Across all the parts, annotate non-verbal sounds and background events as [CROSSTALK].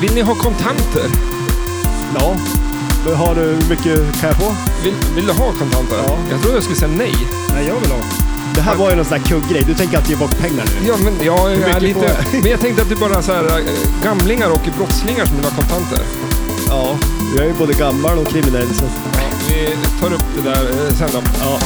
Vill ni ha kontanter? Ja. Men Har du mycket kan jag få? Vill, vill du ha kontanter? Ja. Jag trodde jag skulle säga nej. Nej, jag vill ha. Det här var ju någon sån här kugggrej. Du tänker att ge bort pengar nu? Ja, men jag är mycket lite... får Men jag tänkte att det bara är så här, eh, gamlingar och brottslingar som vill ha kontanter. Ja. Jag är ju både gammal och kriminell. Så. Vi tar upp det där eh, sen då. Ja.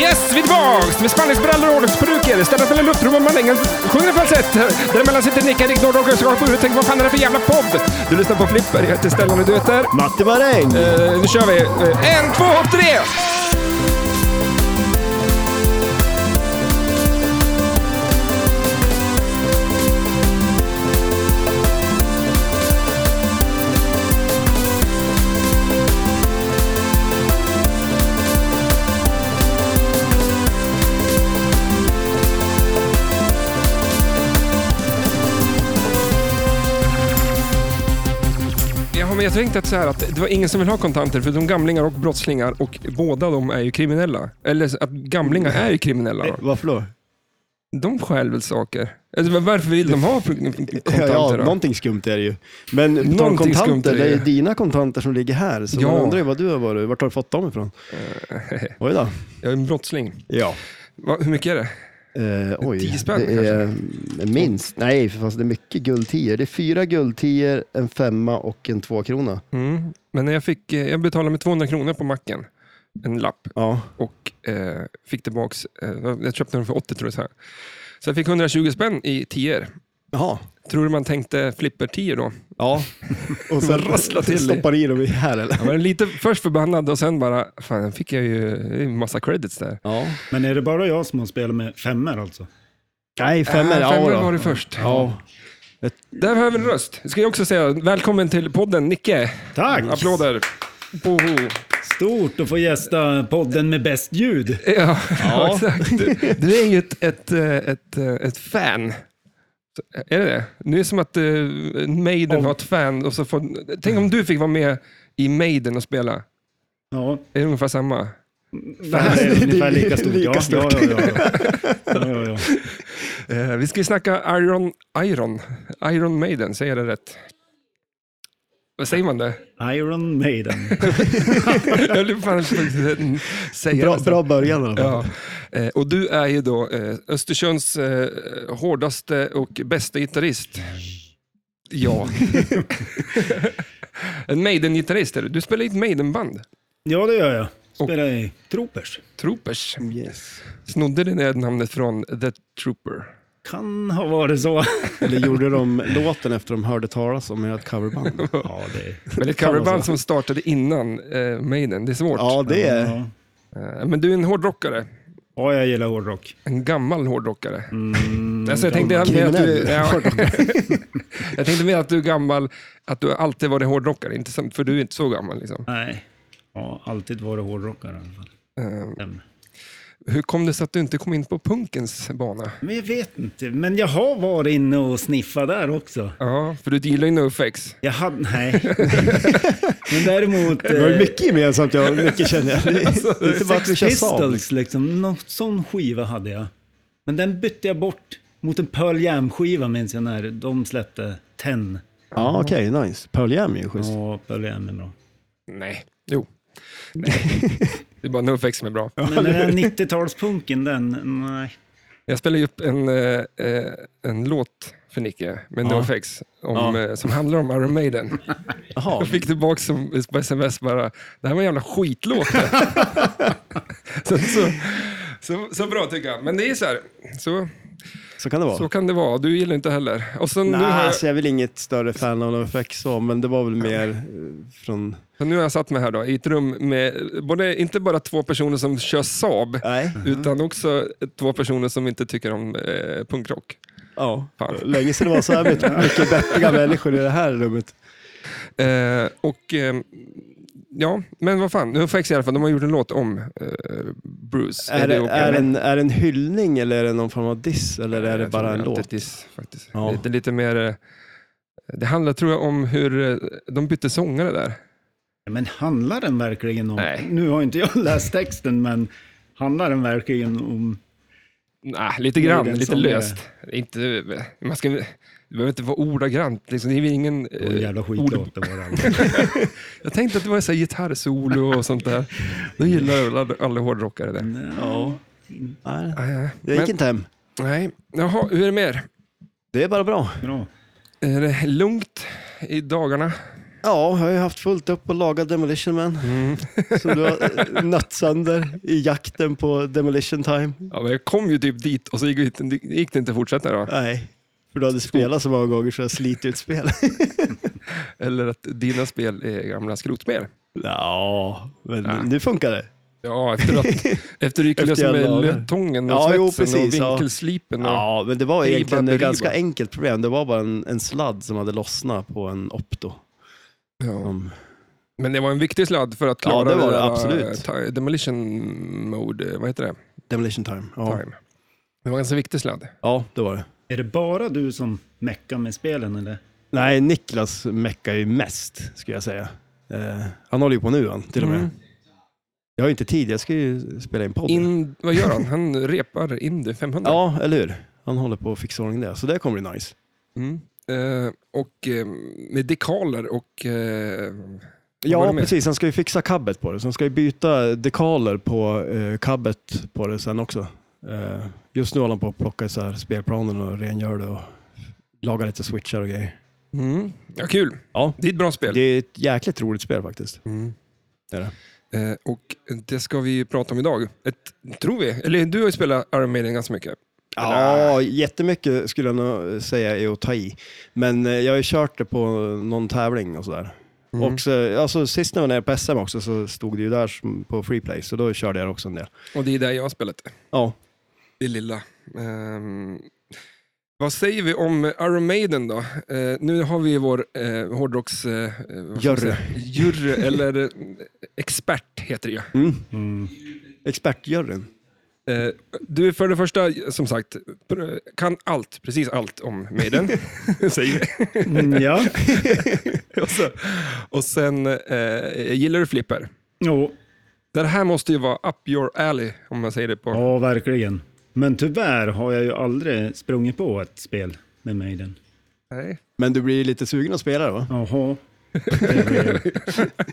Yes, vi är tillbaks! Med spanningsbrallor och ordningsperuker. Städat mellan luftrummen man länge sjunger falsett. Däremellan sitter Nicka, Rick Nord och Östergatan på huvudet. Tänk, vad fan är det för jävla podd? Du lyssnar på Flipper. Jag heter Stellan och du heter? Matte Maräng! Eh, nu kör vi. Eh, en, två, tre! Ja, men jag tänkte att, så här, att det var ingen som vill ha kontanter förutom gamlingar och brottslingar och båda de är ju kriminella. Eller att gamlingar är ju kriminella. Eh, Varför då? De stjäl väl saker? Eller var- varför vill de ha Ja, ja, kontanter då? någonting skumt är det ju. Men på tal om Någonting skumt kontanter, är det det är ju ju. dina kontanter som ligger här. Så Ja. Eh. man undrar ju vad du har varit. Vart har du fått dem ifrån? Oj då. Jag är en brottsling. Ja. Va, hur mycket är det? Eh, oj, Tio spänn det är minst. Nej, för fast det är mycket guldtior. Det är fyra guldtior, en femma och en tvåkrona. Mm. Men när jag, fick, eh, jag betalade med 200 kronor på macken, en lapp, Ja. och eh, fick tillbaks, eh, jag köpte den för 80 tror jag. Så, här. så jag fick 120 spänn i tior. Jaha. Tror du man tänkte flipper-tior då? Ja. Och sen Rassla till. stoppar i dem i här eller? Jag var lite först förbannad och sen bara, fan jag fick jag ju det är ju en massa credits där. Ja. Men är det bara jag som har spelat med femmor alltså? Nej, femmor. Äh, Ja, femmor då. var det först. Ja. Där har vi en röst. Ska jag också säga välkommen till podden Nicke. Tack! Applåder. Boho. Stort att få gästa podden med bäst ljud. Ja, [LAUGHS] exakt. Du, du är ju ett, ett, eh, ett, eh, ett fan. Så, Är det det? Nu är det som att eh, Maiden har ett fan. Och så får, tänk om du fick vara med i Maiden och spela. Ja, Är det ungefär samma? det [LAUGHS] här är ungefär lika stort. lika ja, stort. Ja, ja, ja. ja, ja, ja. Eh, vi ska ju snacka Iron, Iron, Iron Maiden, säger jag det rätt? Vad säger man det? [LAUGHS] Iron Maiden. Jag blev fan tvungen att säga Bra, det. bra början i alla fall. Ja. Eh, och du är ju då eh, Östersunds eh, hårdaste och bästa gitarrist. Ja. [LAUGHS] en Maiden-gitarrist är du. Du spelar i ett Maiden-band. Ja, det gör jag. Spelar i Troopers. Troopers. Yes. Snodde det där namnet från The Trooper? Kan ha varit så. Eh. Eller gjorde de låten efter de hörde talas om ert coverband? Ja, det är... Men det är ett Kan man coverband säga. som startade innan eh, Maiden. Det är svårt. Ja, det är... Ja. Eh, men du är en hårdrockare. ja, jag gillar hårdrock. En gammal hårdrockare. alltså jag, tänkte gammal. mer att du, Kriminell [LAUGHS] ja, [LAUGHS] jag tänkte mer att du är gammal, att du alltid varit hårdrockare, inte som, för du är inte så gammal. Liksom. Nej. Ja, alltid varit hårdrockare i alla fall. Eh, Stämmer. Hur kom det sig att du inte kom in på punkens bana? Men jag vet inte. Men jag har varit inne och sniffat där också. Ja, för du gillar ju NoFX. Jag [LAUGHS] hade... Nej. Men däremot... Det var ju eh, mycket gemensamt jag och Micke känner jag. Det är inte bara att vi Sex kör Saab. Pistols, liksom. Någon sån skiva hade jag. Men den bytte jag bort mot en Pearl Jam-skiva minns jag när de släppte Ten. Ja, okej, nice. Pearl Jam är ju schysst. Ja, Pearl Jam är bra. Nej. Jo. [LAUGHS] det är bara NoFX som är bra. Men den här 90-talspunken, den, nej. Jag spelade ju upp en, eh, eh, en låt för Nicke med NoFX om, Ja. eh, som handlar om Iron Maiden. Jaha, [LAUGHS] Jag fick tillbaka som, på sms bara, det här var en jävla skitlåt. [LAUGHS] så, så, så, så bra tycker jag. Men det är så här, så, så kan det vara. så kan det vara. Du gillar inte heller. Och sen, nu, Nej, har jag, alltså jag är väl inget större fan av NoFX så, men det var väl mer eh, från... så nu har jag satt mig här då, i ett rum med både, inte bara två personer som kör Saab, Nej. utan också två personer som inte tycker om eh, punkrock. Ja. Fan. Länge sedan det var så här mycket, mycket bättriga människor i det här rummet. Eh, och eh, Ja, men vad fan. NoFX i alla fall, de har gjort en låt om eh, Bruce. Är det, okej? är, en, är det en hyllning eller är det någon form av diss eller är det Jag tror bara en att låt? Det, är diss, faktiskt. Ja. Det, det är lite mer... eh, Det handlar tror jag om hur eh, de bytte sångare där. Men handlar den verkligen om, Nej. nu har inte jag läst texten, men handlar den verkligen om Nej, lite Det är grann, den lite som är- löst. Inte, man ska, det behöver inte vara ordagrant. Liksom, det är väl ingen, Det var en eh, jävla ord, skitlåt det var det. jag tänkte att det var så här gitarrsolo och sånt där. Det gillar väl alla, alla hårdrockare det. eh, Ja. Nej, Nej, det gick men, inte hem. nej. Jaha, hur är det med er? Det är bara bra. Bra. Är det lugnt i dagarna? Ja, jag har ju haft fullt upp och lagat Demolition Man. [LAUGHS] Som du har eh, nött sönder i jakten på Demolition Time. Ja, men jag kom ju typ dit och så gick, det- gick det inte att fortsätta [LAUGHS] då. Nej, för du hade spelat så många gånger så jag sliter ut spel. Eller att dina spel är gamla skrotspel. [LAUGHS] Ja, men nu funkar det. Ja, efter att [LAUGHS] efter du gick Efter lös jag med lagade. löttången och Ja, jo, svetsen och precis, ja. vinkelslipen. Och, Ja, men det var Riba, egentligen beriba. ett ganska enkelt problem. Det var bara en, en sladd som hade lossnat på en Opto. Ja. Som, Men det var en viktig sladd för att Ja, klara det var det, där, absolut. eh, ti- Demolition mode, eh, vad heter det? Demolition Time. Ja. Time. Det var en ganska viktig sladd. ja, det var det. Är det bara du som meckar med [LAUGHS] spelen eller? Nej, Niklas meckar ju mest, skulle jag säga. Eh, han håller ju på nu han, till och med. Mm. Jag har ju inte tid, jag ska ju spela in podden. In, vad gör han? [LAUGHS] Han repar Indy 500. Ja, eller hur? Han håller på att fixa ordning det, så det kommer bli nice. Mm. Eh, och eh, med dekaler och... eh, vad var Ja, det mer? precis. Han ska ju fixa kabbet på det. Så han ska ju byta dekaler på eh, kabbet på det sen också. Eh, just nu håller han på att plocka isär spelplanen och rengör det och lagar lite switchar och grejer. Mm. Ja, kul. Ja, Det är ett bra spel. det är ett jäkligt roligt spel faktiskt. Mm. Det är det. Eh, och det ska vi ju prata om idag. Ett, tror vi. Eller du har ju spelat Iron Maiden ganska mycket. Ja, jättemycket skulle jag nog säga är att ta i. Men eh, jag har ju kört det på någon tävling och sådär. Mm. Och så, alltså, sist när jag var nere på SM också så stod det ju där som- på Freeplay, så då körde jag också en del. Och det är där jag har spelat det. Ja, det lilla. Ehm, vad säger vi om Iron Maiden då? Eh, nu har vi vår eh, hårdrocks... Eh, vad ska man Jury. säga? Jury, eller eh, expert heter det ju. mm. Mm. [LAUGHS] expertjuryn. Eh, du är för det första, som sagt, pr- kan allt, precis allt om Maiden. säger vi. Mm, ja. och, så, och sen eh, gillar du flipper. Jo, Det här måste ju vara up your alley, om man säger det på... ja, verkligen. Men tyvärr har jag ju aldrig sprungit på ett spel med Maiden. Nej. Men du blir lite sugen att spela det, va? Jaha. Det blir-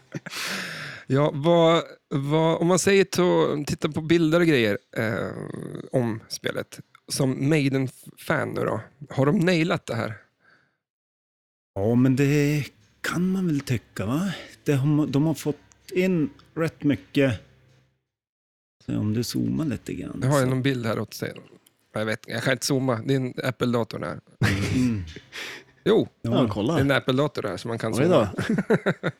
Ja, vad, vad, om man säger to, titta på bilder och grejer eh, om spelet. Som Maiden-fan nu då, har de nailat det här? Ja, men det kan man väl tycka, va? Det har, ma- de har fått in rätt mycket. Se om du zoomar lite grann. Nu har jag så- någon bild här åt sig. Jag, vet, jag kan inte zooma, det är en Apple-dator där. Mm. Jo, Ja, det kolla. är en Apple-dator där som man kan Ah. Oj zooma. då.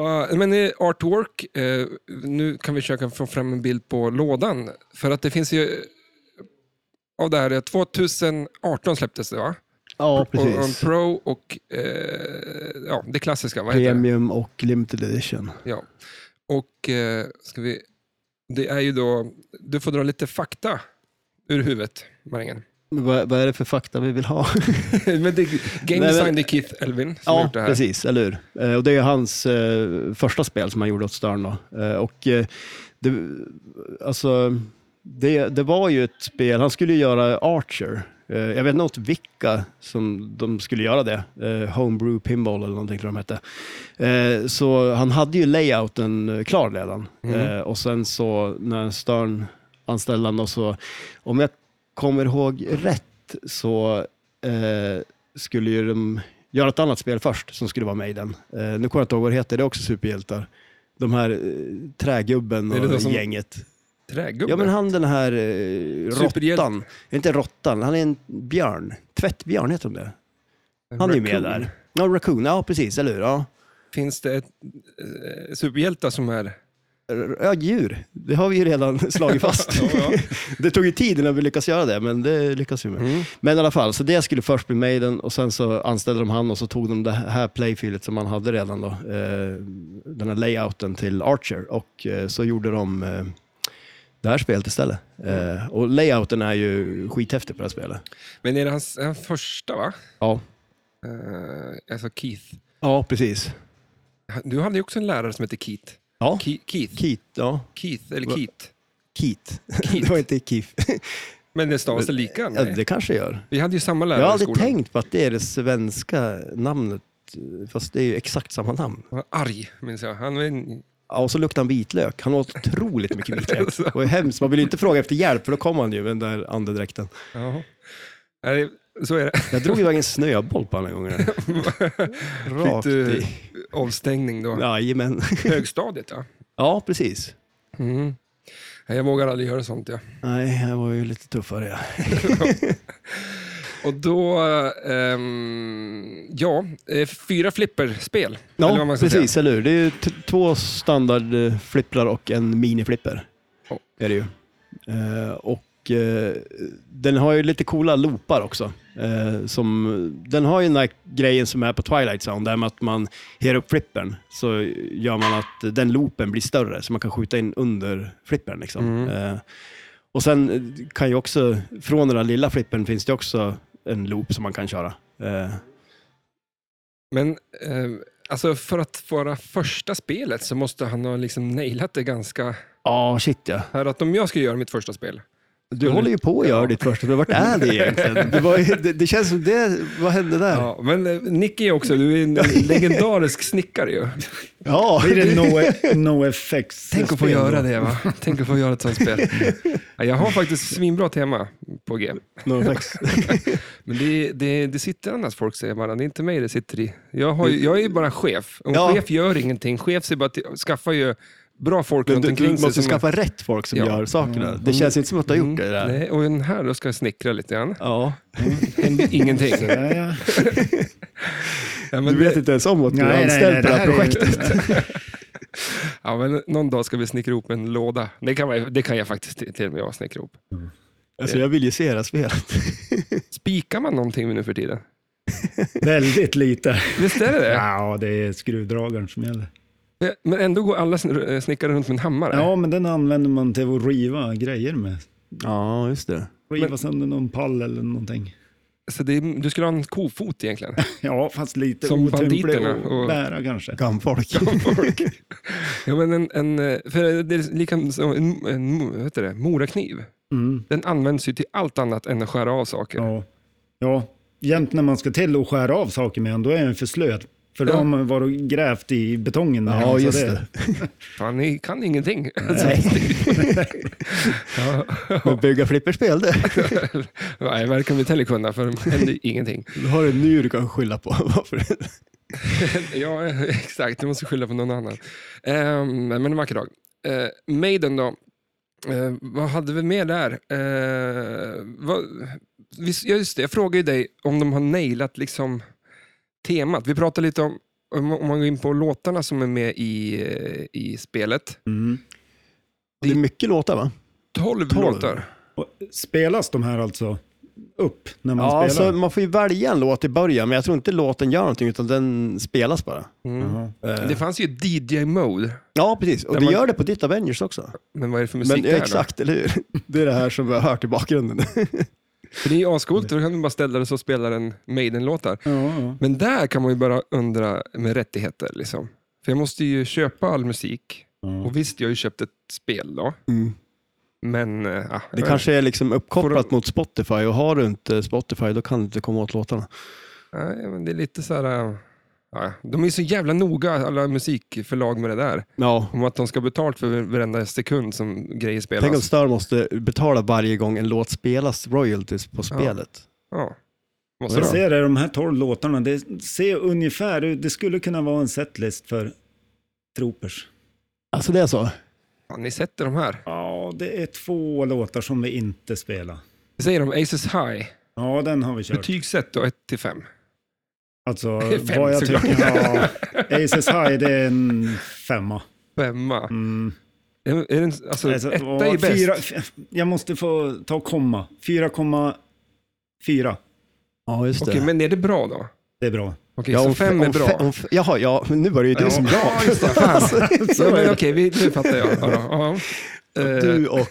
Va, Men eh, artwork, eh, nu kan vi försöka få fram en bild på lådan. För att det finns ju, eh, av det här, eh, 2018 släpptes det va? Ja, Och, och en precis. Pro och eh, ja, det klassiska, vad heter det? Premium och limited edition. Ja. Och eh, ska vi... Det är ju då... Du får dra lite fakta ur huvudet, Marängen. Men vad, vad är det för fakta vi vill ha? men det, Nej, game [LAUGHS] men- design, det är Keith Elvin som har ja, gjort det här. precis. Eller hur? Eh, Och det är hans eh, första spel som han gjorde åt Stern. Då. Eh, och eh, det, alltså, det, det var ju ett spel, han skulle ju göra Archer. Eh, jag vet inte åt vilka som de skulle göra det. Eh, Homebrew Pinball eller någonting tror jag de hette. Eh, så han hade ju layouten eh, klar redan. Mm. Eh, och sen så när Stern anställde han och så, om jag kommer ihåg rätt så eh, skulle ju de göra ett annat spel först som skulle vara Maiden. Eh, nu kommer jag inte ihåg vad det heter, det är också superhjältar. De här eh, trägubben Är det de och som- gänget. Trägubbe. Ja men han den här eh, Superhjälte. råttan, inte råttan, han är en björn. Tvättbjörn heter de det. Han är ju med Raccoon. där. Ja, Raccoon, ja precis, eller hur? Ja. Finns det ett, eh, superhjältar som är... R- Ja, djur. Det har vi ju redan [LAUGHS] slagit fast. Ja, ja. [LAUGHS] det tog ju tid innan vi lyckades göra det, men det lyckas vi med. Mm. Men i alla fall, så det skulle först bli Maiden och sen så anställde de han och så tog de det här playfieldet som han hade redan då, eh, den här layouten till Archer och eh, så gjorde de eh, det här spelet istället. Eh, och layouten är ju skithäftig på det här spelet. Men är det hans, är han första, va? Ja, Eh, alltså Keith. ja precis. Du hade ju också en lärare som hette Keith. Ja, Ke- Keith. Keith, ja. Keith, eller Va- Keith. Keith. [LAUGHS] det var inte Keith. Men det stavas det lika? Ja, Nej. det kanske gör. Vi hade ju samma Jag har lärare i aldrig skolan. tänkt på att det är det svenska namnet, fast det är ju exakt samma namn. Han var arg, minns jag. Han var en... Ja, och så luktar han vitlök. Han åt otroligt mycket vitlök. Och är hemskt. Man vill ju inte fråga efter hjälp, för då kommer han ju med den där andedräkten. ja. Nej, Så är det. Jag drog iväg en snöboll på alla gånger. [LAUGHS] Rakt Lite- i. Avstängning då. Jajamän. [LAUGHS] Högstadiet, ja. Ja, precis. Mm. Nej, Jag vågar aldrig göra sånt. Ja. Nej, jag var ju lite tuffare. Ja. Och då, ehm, ja, eh, fyra flipperspel. eller vad Ja, man ska precis, eller hur? Det är ju t- två standardflipprar och en miniflipper. Ja. Är det ju. Eh, och eh, den har ju lite coola loopar också. Eh, som, den har ju den där grejen som är på Twilight Sound, där med att man ger upp flippern så gör man att den loopen blir större så man kan skjuta in under flippern. Liksom. Mm. Eh, och sen kan ju också, från den där lilla flippern finns det också en loop som man kan köra. Eh, Men eh, alltså för att vara första spelet så måste han ha liksom nailat det ganska. Ja, shit ja. Här att om jag ska göra mitt första spel. Du håller ju på att göra ditt första, men vart är det egentligen? Det, var, ju- det, det känns som det, vad hände där? Ja, Ja, men eh, Nicky är också, du är [LAUGHS] en legendarisk snickare ju. Blir det [LAUGHS] no, e- no effects? Tänk att få göra det, va? Tänk att få göra ett sånt spel. Ja, Jag har faktiskt svinbra tema på G. no effects. Men det, det, det sitter annars folk säger bara, det är inte mig det sitter i. Jag, har, ju- jag är ju bara chef. Och Mm. Ja. chef gör ingenting. Chef ser bara till, skaffar ju bra folk Men runt du, du omkring sig. måste som- skaffa rätt folk som Ja. Mm. gör sakerna. Det känns inte som att du har gjort det där. Nej, och den här då ska jag snickra lite grann. Ja. Mm. Händer [LAUGHS] ingenting. Ja, ja. Ja, men Du vet det, inte ens om att du är Nej, nej, nej, anställd på det här det här är- projektet. ja, men någon dag ska vi snickra ihop en låda. Det kan, man- det kan jag faktiskt till till och med jag snickra ihop. Alltså, jag vill ju se det här spelet. Spikar man någonting nu för tiden? [LAUGHS] Väldigt lite. Visst är det [LAUGHS] det? Ja, det är skruvdragaren som gäller. Men ändå går alla sn- eh, snickare runt med en hammare. Ja, men den använder man till att riva grejer med. Ja, just det. Riva sönder någon pall eller någonting. Så det, är- du skulle ha en kofot egentligen. Ja, fast lite Som otymplig banditerna att och- bära kanske. Gamfolk. folk. ja, men en, en, eh, för det är lika, som en, en mo- vad heter det, morakniv. Mm, Den används ju till allt annat än att skära av saker. ja. ja, jämt när man ska till och skära av saker med den, då är den för slö. För då Ja. har man varit och grävt i betongen. med den, Ja, så just det. Fan, ni kan ingenting. [LAUGHS] Nej. [LAUGHS] ja. Men bygga flipperspel, det. [LAUGHS] Nej, verkar vi inte heller kunna, för det händer ingenting. Du har en ny du kan skylla på. [LAUGHS] Varför? [LAUGHS] ja, exakt. Du måste skylla på någon annan. Ehm, men en vacker dag. Eh, Maiden då. Eh, vad hade vi mer där? Eh, vad, visst, ja, just det, jag frågade ju dig om de har nailat liksom, temat. Vi pratade lite om, om, om man går in på låtarna som är med i, eh, i spelet. Mm. Det är mycket låtar, va? 12, Tolv. låtar. Och spelas de här alltså upp när man Ja, spelar? alltså, man får ju välja en låt i början, men jag tror inte låten gör någonting, utan den spelas bara. Mm. Jaha. Eh, Det fanns ju DJ-mode, Ja, precis. Och Där det man- gör det på ditt Avengers också. men vad är det för musik Men, det här då? exakt, eller hur? [LAUGHS] Det är det här som vi har hört i bakgrunden. För det är ju ascoolt, då kan du bara ställa dig så spelar en Maiden-låtar. Ja, ja. Men där kan man ju bara undra med rättigheter. Liksom. För jag måste ju köpa all musik. Ja. Och visst, jag har ju köpt ett spel då. Men, eh, ah, [LAUGHS] Mm. Det kanske är liksom uppkopplat Får mot Spotify och har du inte Spotify då kan du inte komma åt låtarna. Nej, men det är lite så här... eh, ja, de är så jävla noga, alla musikförlag med det där. Ja. Om att de ska ha betalt för varenda sekund som grejer spelas. Tänk om Stör måste betala varje gång en låt spelas royalties på spelet. Ja. Måste Jag de? ser det, de här tolv låtarna, det ser ungefär, det skulle kunna vara en setlist för Troopers. Alltså det är så? Fan, ni sätter de här. Ja, det är två låtar som vi inte spelar. Det säger de Aces High. Ja, den har vi kört. Betygssätt då, 1-5. Alltså, Det är [LAUGHS] fem vad jag såklart. tycker. Ja, Aces High, det är en femma. Femma. Mm. Är, är det, en- alltså, Alltså, och etta är bäst. fyra, f- jag måste få ta komma. 4,4. Ja, just det. Okej, men är det bra då? Det är bra. Okej, ja, så om- fem är om bra. fe- om fe- Jaha, ja, men nu var det ju du som Ja, just det. Fan. [LAUGHS] ja, men, okej, vi, nu fattar jag. Ja, då. Ja. Eh, Du [LAUGHS] och...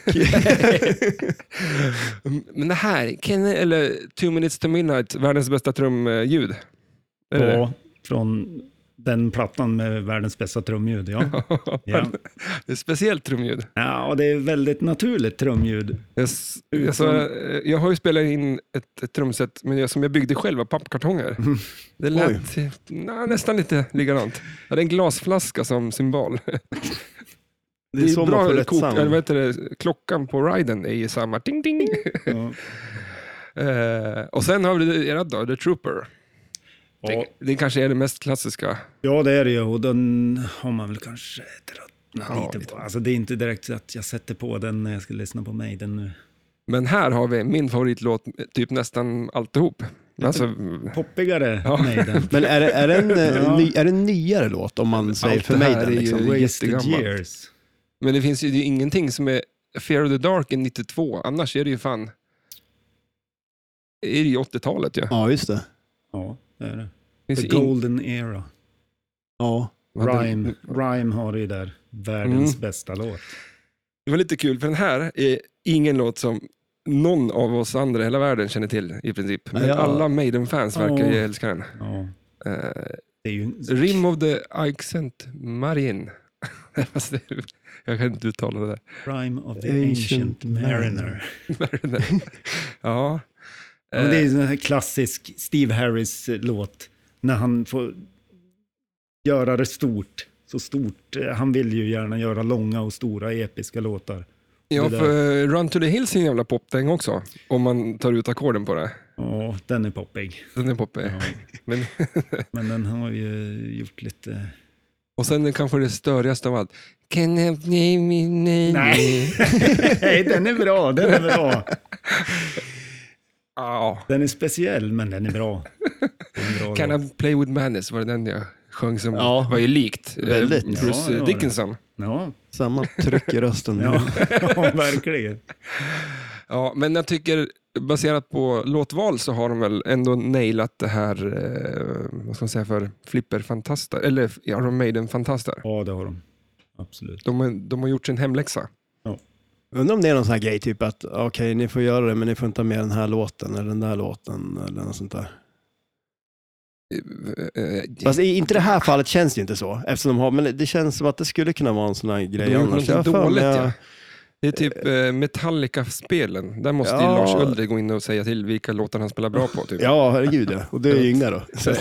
Men det här, Kenny, eller Two Minutes to Midnight, världens bästa trumljud. Är det det? Ja, från Den plattan med världens bästa [LAUGHS] trumljud, ja. ja. Det är speciellt trumljud. ja och det är väldigt naturligt trumljud. Jag, s- alltså, eh, jag har ju spelat in ett, ett trumset men jag, som jag byggde själv av pappkartonger. Mm. Det lät na, nästan lite likadant. Jag hade en glasflaska som symbol. [LAUGHS] Det är, så man får rätt kok- eller vad sound. heter det, klockan på riden är ju samma ding ding. [LAUGHS] Ja. Eh, och sen har vi det era då, The Trooper. Ja, Det kanske är det mest klassiska. ja, det är det ju. Och den har man väl kanske tröttnat Ja, lite lite. på. Alltså, det är inte direkt så att jag sätter på den när jag ska lyssna på mig. Den nu. Men här har vi min favoritlåt, typ nästan alltihop. Mm. Alltså, poppigare Ja. [LAUGHS] Maiden. Men är det, är, det en, eh, Ja. ny, är det en nyare låt om man säger Allt för det mig? här den, är ju- liksom? Wasted jättegammalt. years. men det finns ju det är ingenting som är Fear of the Dark är 92, annars är det ju fan... Är det ju 80-talet ju. Ja, just det. Ja, det är det. Finns The ju in- golden era. Ja. vad hade- Rhyme. Rhyme har det ju där. Världens Mm. bästa låt. Det var lite kul, för den här är ingen låt som någon av oss andra i hela världen känner till i princip. Men Nej, ja. alla Maiden-fans verkar ju Ja. älska den. Ja, Eh, det är ju en Rim of the Accent Marin. [LAUGHS] Fast det- Jag kan inte uttala det där. [LAUGHS] Rhyme of the Ancient Ancient Mariner. Mariner. Mariner. ja. Eh, Ja, men det är ju en här klassisk Steve Harris-låt. När han får göra det stort. Så stort. Eh, Han vill ju gärna göra långa och stora episka låtar. Ja, det där. för eh, Run to the Hills är en jävla popdäng också, om man tar ut ackorden på det. Ja, den är poppig. Den är poppig. Ja. [LAUGHS] Men, Men den har ju gjort lite... [LAUGHS] och sen är kanske det störigaste av allt. Can I name me name? Nej. Nej, den är bra. Den är bra. [LAUGHS] Ja. Den är speciell, men den är bra. Den är bra Can låt. I play with madness var det den jag sjöng som Ja. var ju likt eh, Väldigt. Bruce Ja, det var det. Dickinson. Ja, Samma tryck i rösten. [LAUGHS] ja, [LAUGHS] ja verkligen. Ja, men jag tycker baserat på låtval så har de väl ändå nailat det här, eh, vad ska man säga för flipper-fantaster, eller ja, de Maiden-fantaster. Ja, det har de. Absolut. De, har- de har gjort sin hemläxa. Undrar om det är någon sån här grej, typ att okej, ni får göra det, men ni får inte ha med den här låten eller den där låten eller något sånt där. Eh, eh, Fast i, inte det här fallet känns det ju inte så, eftersom de har, men det känns som att det skulle kunna vara en sån här de grej har gjort annars. Jag har någonting dåligt. för mig- Ja. Det är typ eh, Metallica-spelen. Där måste ju Ja. Lars Ulrich gå in och säga till vilka låtar han spelar bra på. Typ. Ja, herregud ja. Och det är ju yngre då. Så.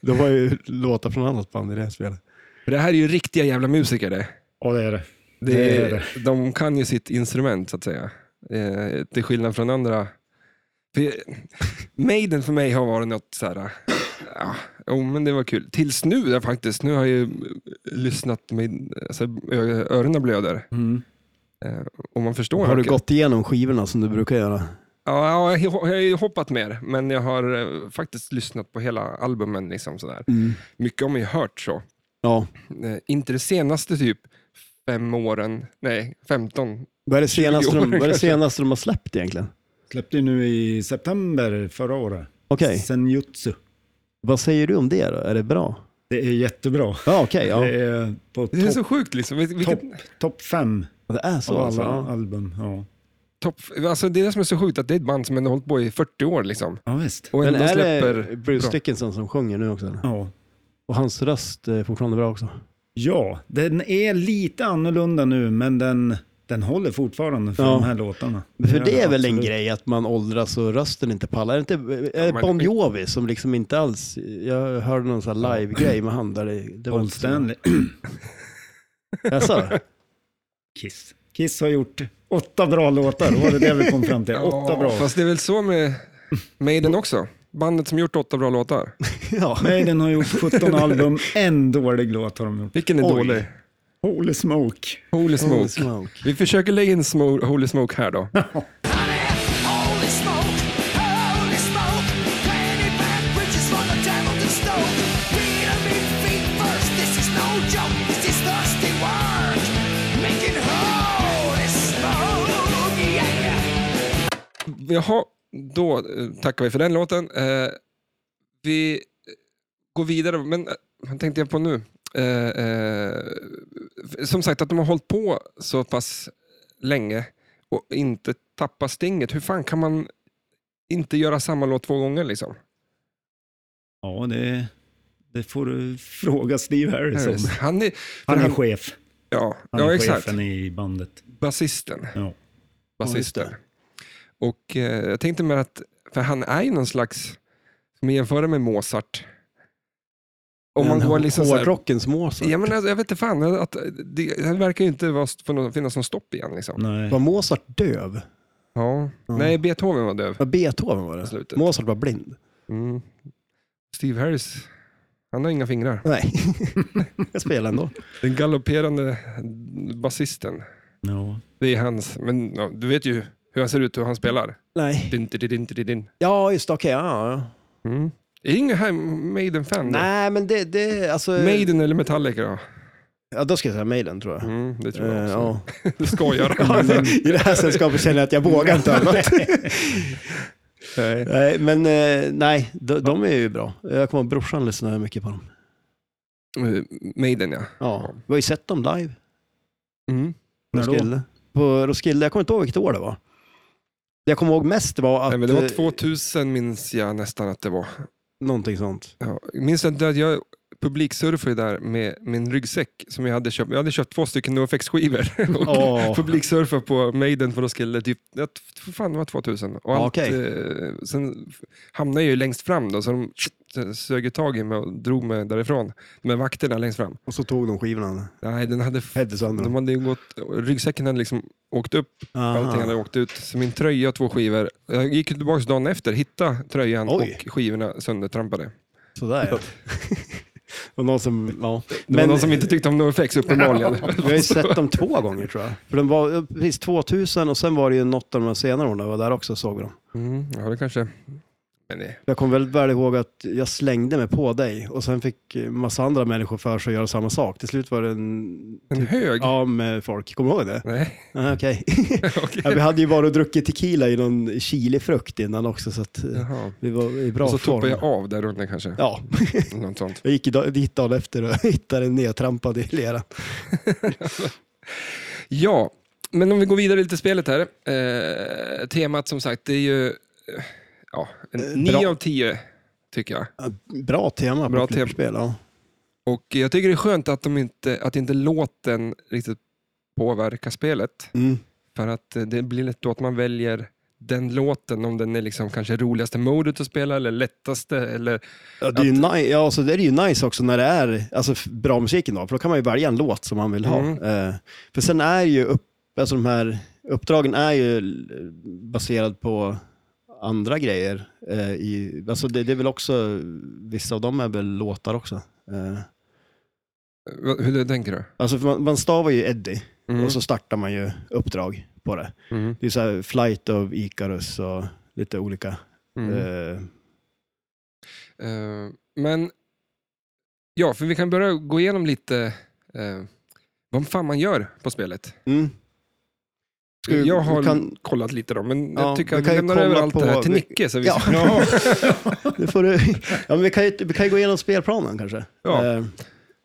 det var ju låtar från annat band i det här spelet. För det här är ju riktiga jävla musiker det. Ja, det är det. det, Det är De kan ju sitt instrument så att säga. Eh, till skillnad från andra. För, [LAUGHS] Maiden för mig har varit något så här. eh, Ja, jo, men det var kul. Tills nu där, faktiskt. Nu har jag ju lyssnat med alltså, ö- öronen blöder. Mm. Eh, och man förstår. Har du hur kul- gått igenom skivorna som du brukar göra? Ja, jag har jag har ju hoppat mer, men jag har eh, faktiskt lyssnat på hela albumen. Liksom, sådär. Mycket har man ju hört så. Ja. Eh, inte det senaste typ fem åren, nej, 15. Vad är det senaste, 20 år de, vad är det kanske. senaste de har släppt egentligen? Släppte ju nu i september förra året. Okej, Senjutsu. vad säger du om det då? Är det bra? Det är jättebra. Ja, okej. ja. Det är på Det är topp så sjukt liksom. Vil- Vilket, topp top fem Det är så av alltså? alla Ja. album. Ja. topp, alltså, det är det som är så sjukt, att det är ett band som ändå hållit på i 40 år. Liksom. ja, visst. Och Men ändå är släpper... det Bruce bra. Dickinson som sjunger nu också? eller? Ja. Och hans röst är fortfarande bra också? ja, den är lite annorlunda nu, men den, den håller fortfarande för Ja. de här låtarna. För det är väl en absolut. grej att man åldras och rösten inte pallar. Är det, inte, är det men- Bon Jovi som liksom inte alls... Jag hörde någon sån här live-grej med han där det, det Paul inte så- Stanley. Jaså? [LAUGHS] Kiss. Kiss har gjort åtta bra låtar, var det det vi kom fram till? Åtta bra. Ja, fast det är väl så med Maiden också. Bandet som gjort åtta bra låtar. Ja. Maiden har gjort 17 album, en dålig låt har de gjort. Vilken är Oj. dålig? Holy Smoke. Holy Holy Smoke. smoke. Vi försöker lägga in smo- Holy Smoke här då. Holy smoke, holy smoke, paying it back, riches for the devil to stoke. Peter me feet first, this is no joke, this is thirsty work. Making holy smoke, yeah. Jaha, då eh, tackar vi för den låten. Eh, vi eh, går vidare, men eh, vad tänkte jag på nu? Eh, eh, f- som sagt, att de har hållit på så pass länge och inte tappa stinget. Hur fan kan man inte göra samma låt två gånger? liksom? Ja, det, Det får du fråga Steve Harris om. Han är, Han är chef. ja, Han ja, är exakt. chefen i bandet. Basisten. Ja. Basisten. och eh, jag tänkte mer att, för han är ju någon slags, ska man jämföra med Mozart? Om man går liksom så här- Hårdrockens Mozart. Ja, men alltså, jag vet inte fan, att det, det verkar ju inte vara, få någon- finnas någon stopp igen. Liksom. Nej. Var Mozart döv? Ja. Nej, Beethoven var döv. Var Beethoven var det? Slutet. Mozart var blind? Mm. Steve Harris, han har inga fingrar. [LAUGHS] Nej. jag spelar ändå. Den galopperande basisten, Ja. det är hans. Men ja, du vet ju hur han ser ut och hur han spelar. Nej. Din, din, din, din, din. Ja, just det. Okej. ja, ja. Mm. Är ingen här Maiden-fan? då? Nej, men det... det alltså, Maiden eller Metallica då? Ja, då ska jag säga Maiden, tror jag. Mm, det tror jag Eh, också. ja. [LAUGHS] Du skojar. I det här sällskapet känner jag att jag vågar inte annat. [LAUGHS] Nej. nej, men eh, nej, de, de är ju bra. Jag kommer ihåg brorsan lyssnade mycket på dem. Eh, Maiden ja. Ja, vi har ju sett dem live. Mm. på När då? Roskilde. På Roskilde, jag kommer inte ihåg vilket år det var. Det jag kommer ihåg mest var att... Nej, men det var eh, 2000 minns jag nästan att det var. Någonting sånt. Ja, jag minns att jag publiksurfade där med min ryggsäck som jag hade köpt. Jag hade köpt två stycken NoFX-skivor och [LAUGHS] Åh. publiksurfa på Maiden för Roskilde. Typ, jag, för fan, det var 2000. Och allt, Okej. eh, sen f- hamnade jag ju längst fram då, så de tsk- sög ju tag i mig och drog mig därifrån. Med vakterna längst fram. Och så tog de skivorna. Nej, den hade, f- Hette sönder de dem. hade ju gått, ryggsäcken hade liksom åkt upp, Aha. allting hade åkt ut. Så min tröja och två skivor. Jag gick tillbaka dagen efter, hittade tröjan Oj. och skivorna söndertrampade. Sådär [LAUGHS] ja. Och någon som, ja. Det var någon som inte tyckte om NoFX uppenbarligen. [LAUGHS] Vi har ju sett dem två gånger tror jag. För de var eh, precis 2000 och sen var det ju något av de här senare åren jag var där också såg vi dem. Mm, ja, det kanske... Men det, Jag kommer väldigt väl ihåg att jag slängde mig på dig och sen fick eh, massa andra människor för sig att göra samma sak. Till slut var det en... en hög? Typ. Ja, med folk. Kommer du ihåg det? Nej, [LAUGHS] Ah, Okej. [LAUGHS] okej. ja, vi hade ju varit och druckit tequila i någon chilifrukt innan också så att eh, Jaha. vi var i bra Och så form. tuppade jag av där runt den kanske. Ja, Något sånt. jag gick idag- dit dagen efter och [LAUGHS] hittade en nedtrampad i leran. Ja, men om vi går vidare lite i spelet här. Eh, temat som sagt, det är ju... eh, Ja, en, bra. 9 av 10 tycker jag. Ja, Bra tema Bra på flipperspel. Ja. Och jag tycker det är skönt att, de inte, att inte låten riktigt påverkar spelet. Mm. För att eh, det blir lätt då att man väljer den låten, om den är liksom kanske roligaste modet att spela eller lättaste eller Ja, det är ju ni- ja, alltså, det är ju nice också när det är alltså, f- bra musik ändå, för då kan man ju välja en låt som man vill ha. Mm. Eh, för sen är ju upp, alltså, de här uppdragen är ju eh, baserad på andra grejer. Eh, i, alltså, det, det är väl också, vissa av dem är väl låtar också. Eh, Va- eh, Hur tänker du? alltså, för man, man stavar ju Eddie Mm. och så startar man ju uppdrag på det. Mm. Det är så här Flight of Icarus och lite olika. Mm. Eh, Eh, men, ja, för vi kan börja gå igenom lite eh, vad fan man gör på spelet. mm. Ska vi- jag har vi kan- kollat lite då, men Ja, jag tycker vi att kan vi ju lämnar över kolla allt på- det här till vi- Nicke. Så vi, Ja. ja. [LAUGHS] Det får du... [LAUGHS] ja, men vi, kan ju, vi kan ju gå igenom spelplanen kanske. Ja. Eh,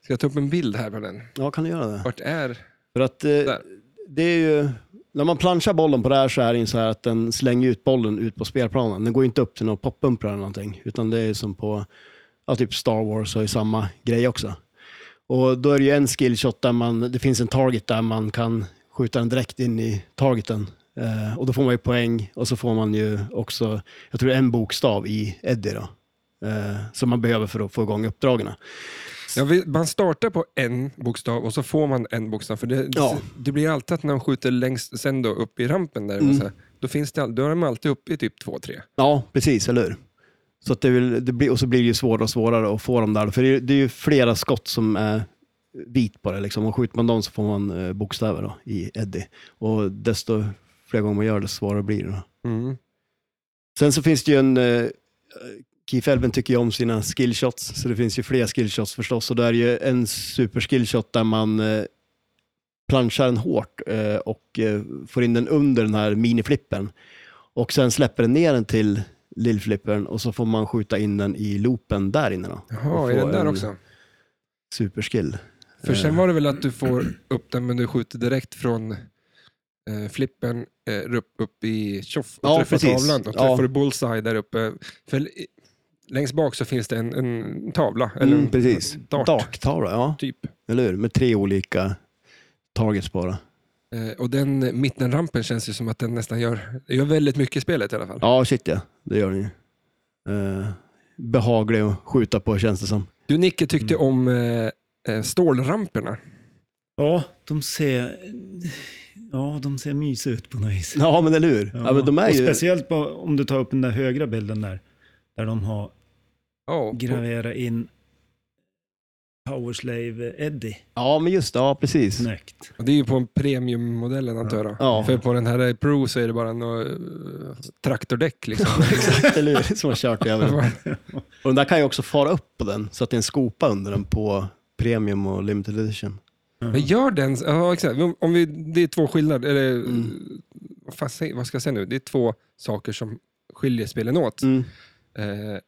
Ska jag ta upp en bild här på den? ja, kan du göra det? Vart är... För att eh, Där. det är ju... När man planchar bollen på det här så är det ju så här att den slänger ut bollen ut på spelplanen. Den går ju inte upp till någon poppumprar eller någonting, utan det är ju som på ja, typ Star Wars och i samma grej också. Och då är det ju en skillshot där man, det finns en target där man kan skjuta den direkt in i targeten. Eh, och då får man ju poäng och så får man ju också, jag tror det är en bokstav i Eddie då. Eh, som man behöver för att få igång uppdragen. Ja, vi, man startar på en bokstav och så får man en bokstav. För det, Ja. det blir alltid att när de skjuter längst sen då, upp i rampen, där, Mm. så här, då, finns det, all- då är de alltid uppe i typ två, tre. Ja, precis, eller hur? Så att det vill, det blir, och så blir det ju svårare och svårare att få dem där. För det är, ju- det är ju flera skott som är vit på det. Liksom. Och skjuter man dem så får man eh, bokstäver då, i Eddie. Och desto fler gånger man gör det, svårare blir det. Då. Mm. Sen så finns det ju en... Eh, Keith Elben tycker ju om sina skillshots, så det finns ju fler skillshots förstås. Och det är ju en superskillshot där man eh, planchar den hårt eh, och eh, får in den under den här miniflippen. Och sen släpper den ner den till lillflippern och så får man skjuta in den i loopen där inne då. Jaha, Och är få den där en också? Superskill. För Eh. sen var det väl att du får upp den men du skjuter direkt från eh, flippen eh, upp, upp i tjoff och Ja, träffar precis. tavlan. Och Ja. träffar du bullseye där uppe. För, Längst bak så finns det en, en tavla, eller Mm, en precis. dart, Darktavla, ja. typ. Eller hur? Med tre olika targets bara. Eh, och den eh, mittenrampen känns ju som att den nästan gör, det gör väldigt mycket i spelet i alla fall. Ja, shit ja. Det gör den ju. Eh, behaglig att skjuta på känns det som. Du Nicke tyckte Mm. om eh, eh, stålramperna. Ja, de ser... Ja, de ser mysiga ut på något vis. [LAUGHS] Ja, men eller hur? Ja, men de är och ju... Speciellt på, om du tar upp den där högra bilden där, där de har Ja, på- graverat in Powerslave Eddie Ja, men just det. Ja, [LAUGHS] precis. snyggt. och det är ju på en premiummodellen antar jag. då. Ja. För på den här Pro så är det bara en eh, traktordäck [LAUGHS] liksom. [LAUGHS] Eller hur? Som har kört över den. Och den där kan ju också fara upp på den, så att det är en skopa under den på Premium och Limited Edition. [LAUGHS] Men gör den, ja exakt. Om- Om vi, det är två skillnader, eller Mm. vad, fan, säger- vad ska jag säga nu? Det är två saker som skiljer spelen åt. Eh,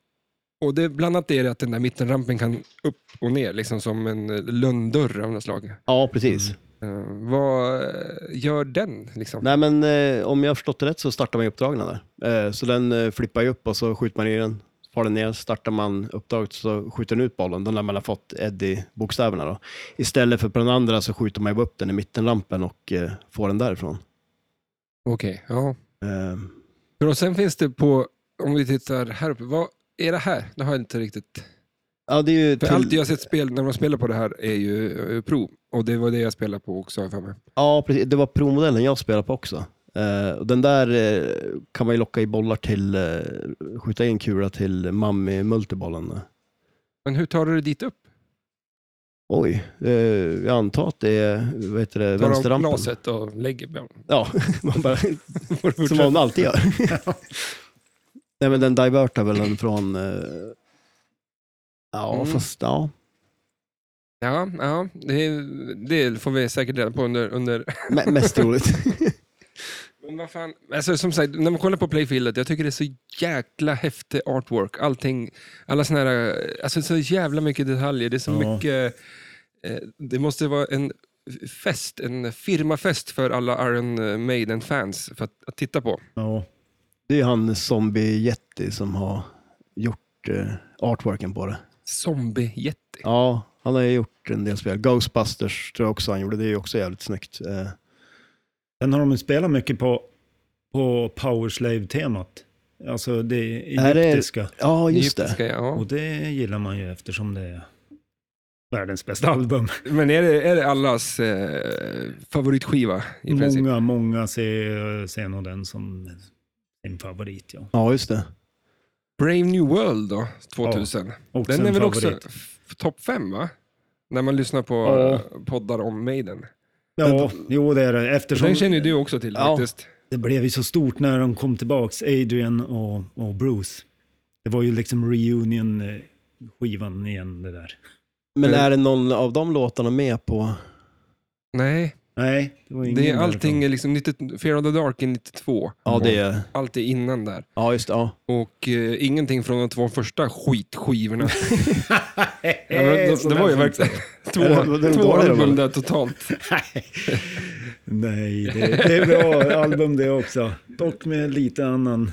och det, bland annat är det att den där mittenrampen kan upp och ner, liksom som en eh, lönndörr av något slag. Ja, precis. Eh, vad eh, gör den? Liksom? Nej, men eh, om jag har förstått det rätt så startar man ju uppdragen där. Eh, så den eh, flippar ju upp och så skjuter man i den. Far den ner, startar man uppdraget så skjuter den ut bollen. Den där man har fått Eddie-bokstäverna då. Istället för på den andra så skjuter man ju upp den i mittenlampen och eh, får den därifrån. Okej, ja. Eh, För och sen finns det på, om vi tittar här uppe, vad är det här? Det har jag inte riktigt... ja, det är ju... För till- allt jag har sett spel, när de spelar på det här är ju eh, Pro. Och det var det jag spelade på också, har jag för mig. Ja, precis. Det var provmodellen jag spelade på också. Eh, och den där eh, kan man ju locka i bollar till, eh, skjuta in kula till mammi multibollen. Men hur tar du det dit upp? Oj, eh, jag antar att det är vad heter det, Tar du av vänsterrampen. glaset och lägger... Ja, [LAUGHS] man bara, som man alltid gör. Nej, men den divertar väl den från... Eh, ja, Mm. fast ja. Ja, ja det, det får vi säkert reda på under... under. Me- mest troligt. Men vad fan? Alltså, som sagt, när man kollar på Playfieldet, jag tycker det är så jäkla häftig artwork. Allting, alla såna här, alltså så jävla mycket detaljer. Det är så Ja. mycket... Eh, det måste vara en fest, en firmafest för alla Iron Maiden-fans för att, att titta på. Ja, [LAUGHS] det är ju han zombie Yeti som har gjort eh, artworken på det. Zombie-jätte. Ja, han har ju gjort en del spel. Ghostbusters tror jag också han gjorde. Det är ju också jävligt snyggt. Eh, den har de ju spelat mycket på, på Powerslave-temat. Alltså det Här är- egyptiska. Ja, just det. Egyptiska, Ja. Och det gillar man ju eftersom det är världens bästa album. Men är det, är det allas eh, favoritskiva i princip? Många, många ser, ser nog den som sin favorit. Ja. Ja, just det. Brave New World då, 2000. Också Den är en väl favorit. också f- topp fem, va? När man lyssnar på Ja. eh, poddar om Maiden. Ja, jo det är det. Den Eftersom känner ju du också till Ja. faktiskt. det blev ju så stort när de kom tillbaks, Adrian och, och Bruce. Det var ju liksom reunion-skivan igen det där. Men Mm. är det någon av de låtarna med på... Nej, Nej, det var ingen det är därifrån. allting är liksom 90, Fear of the Dark är 92. Ja, det är... Allt är innan där. Ja, just det. Ja. Och eh, ingenting från de två första [LAUGHS] skitskivorna. ja, men, det, det var ju verkligen Eller, två, [LAUGHS] det var dåliga två de album var. där totalt. Nej, [LAUGHS] det, det är bra album det också. Dock med lite annan...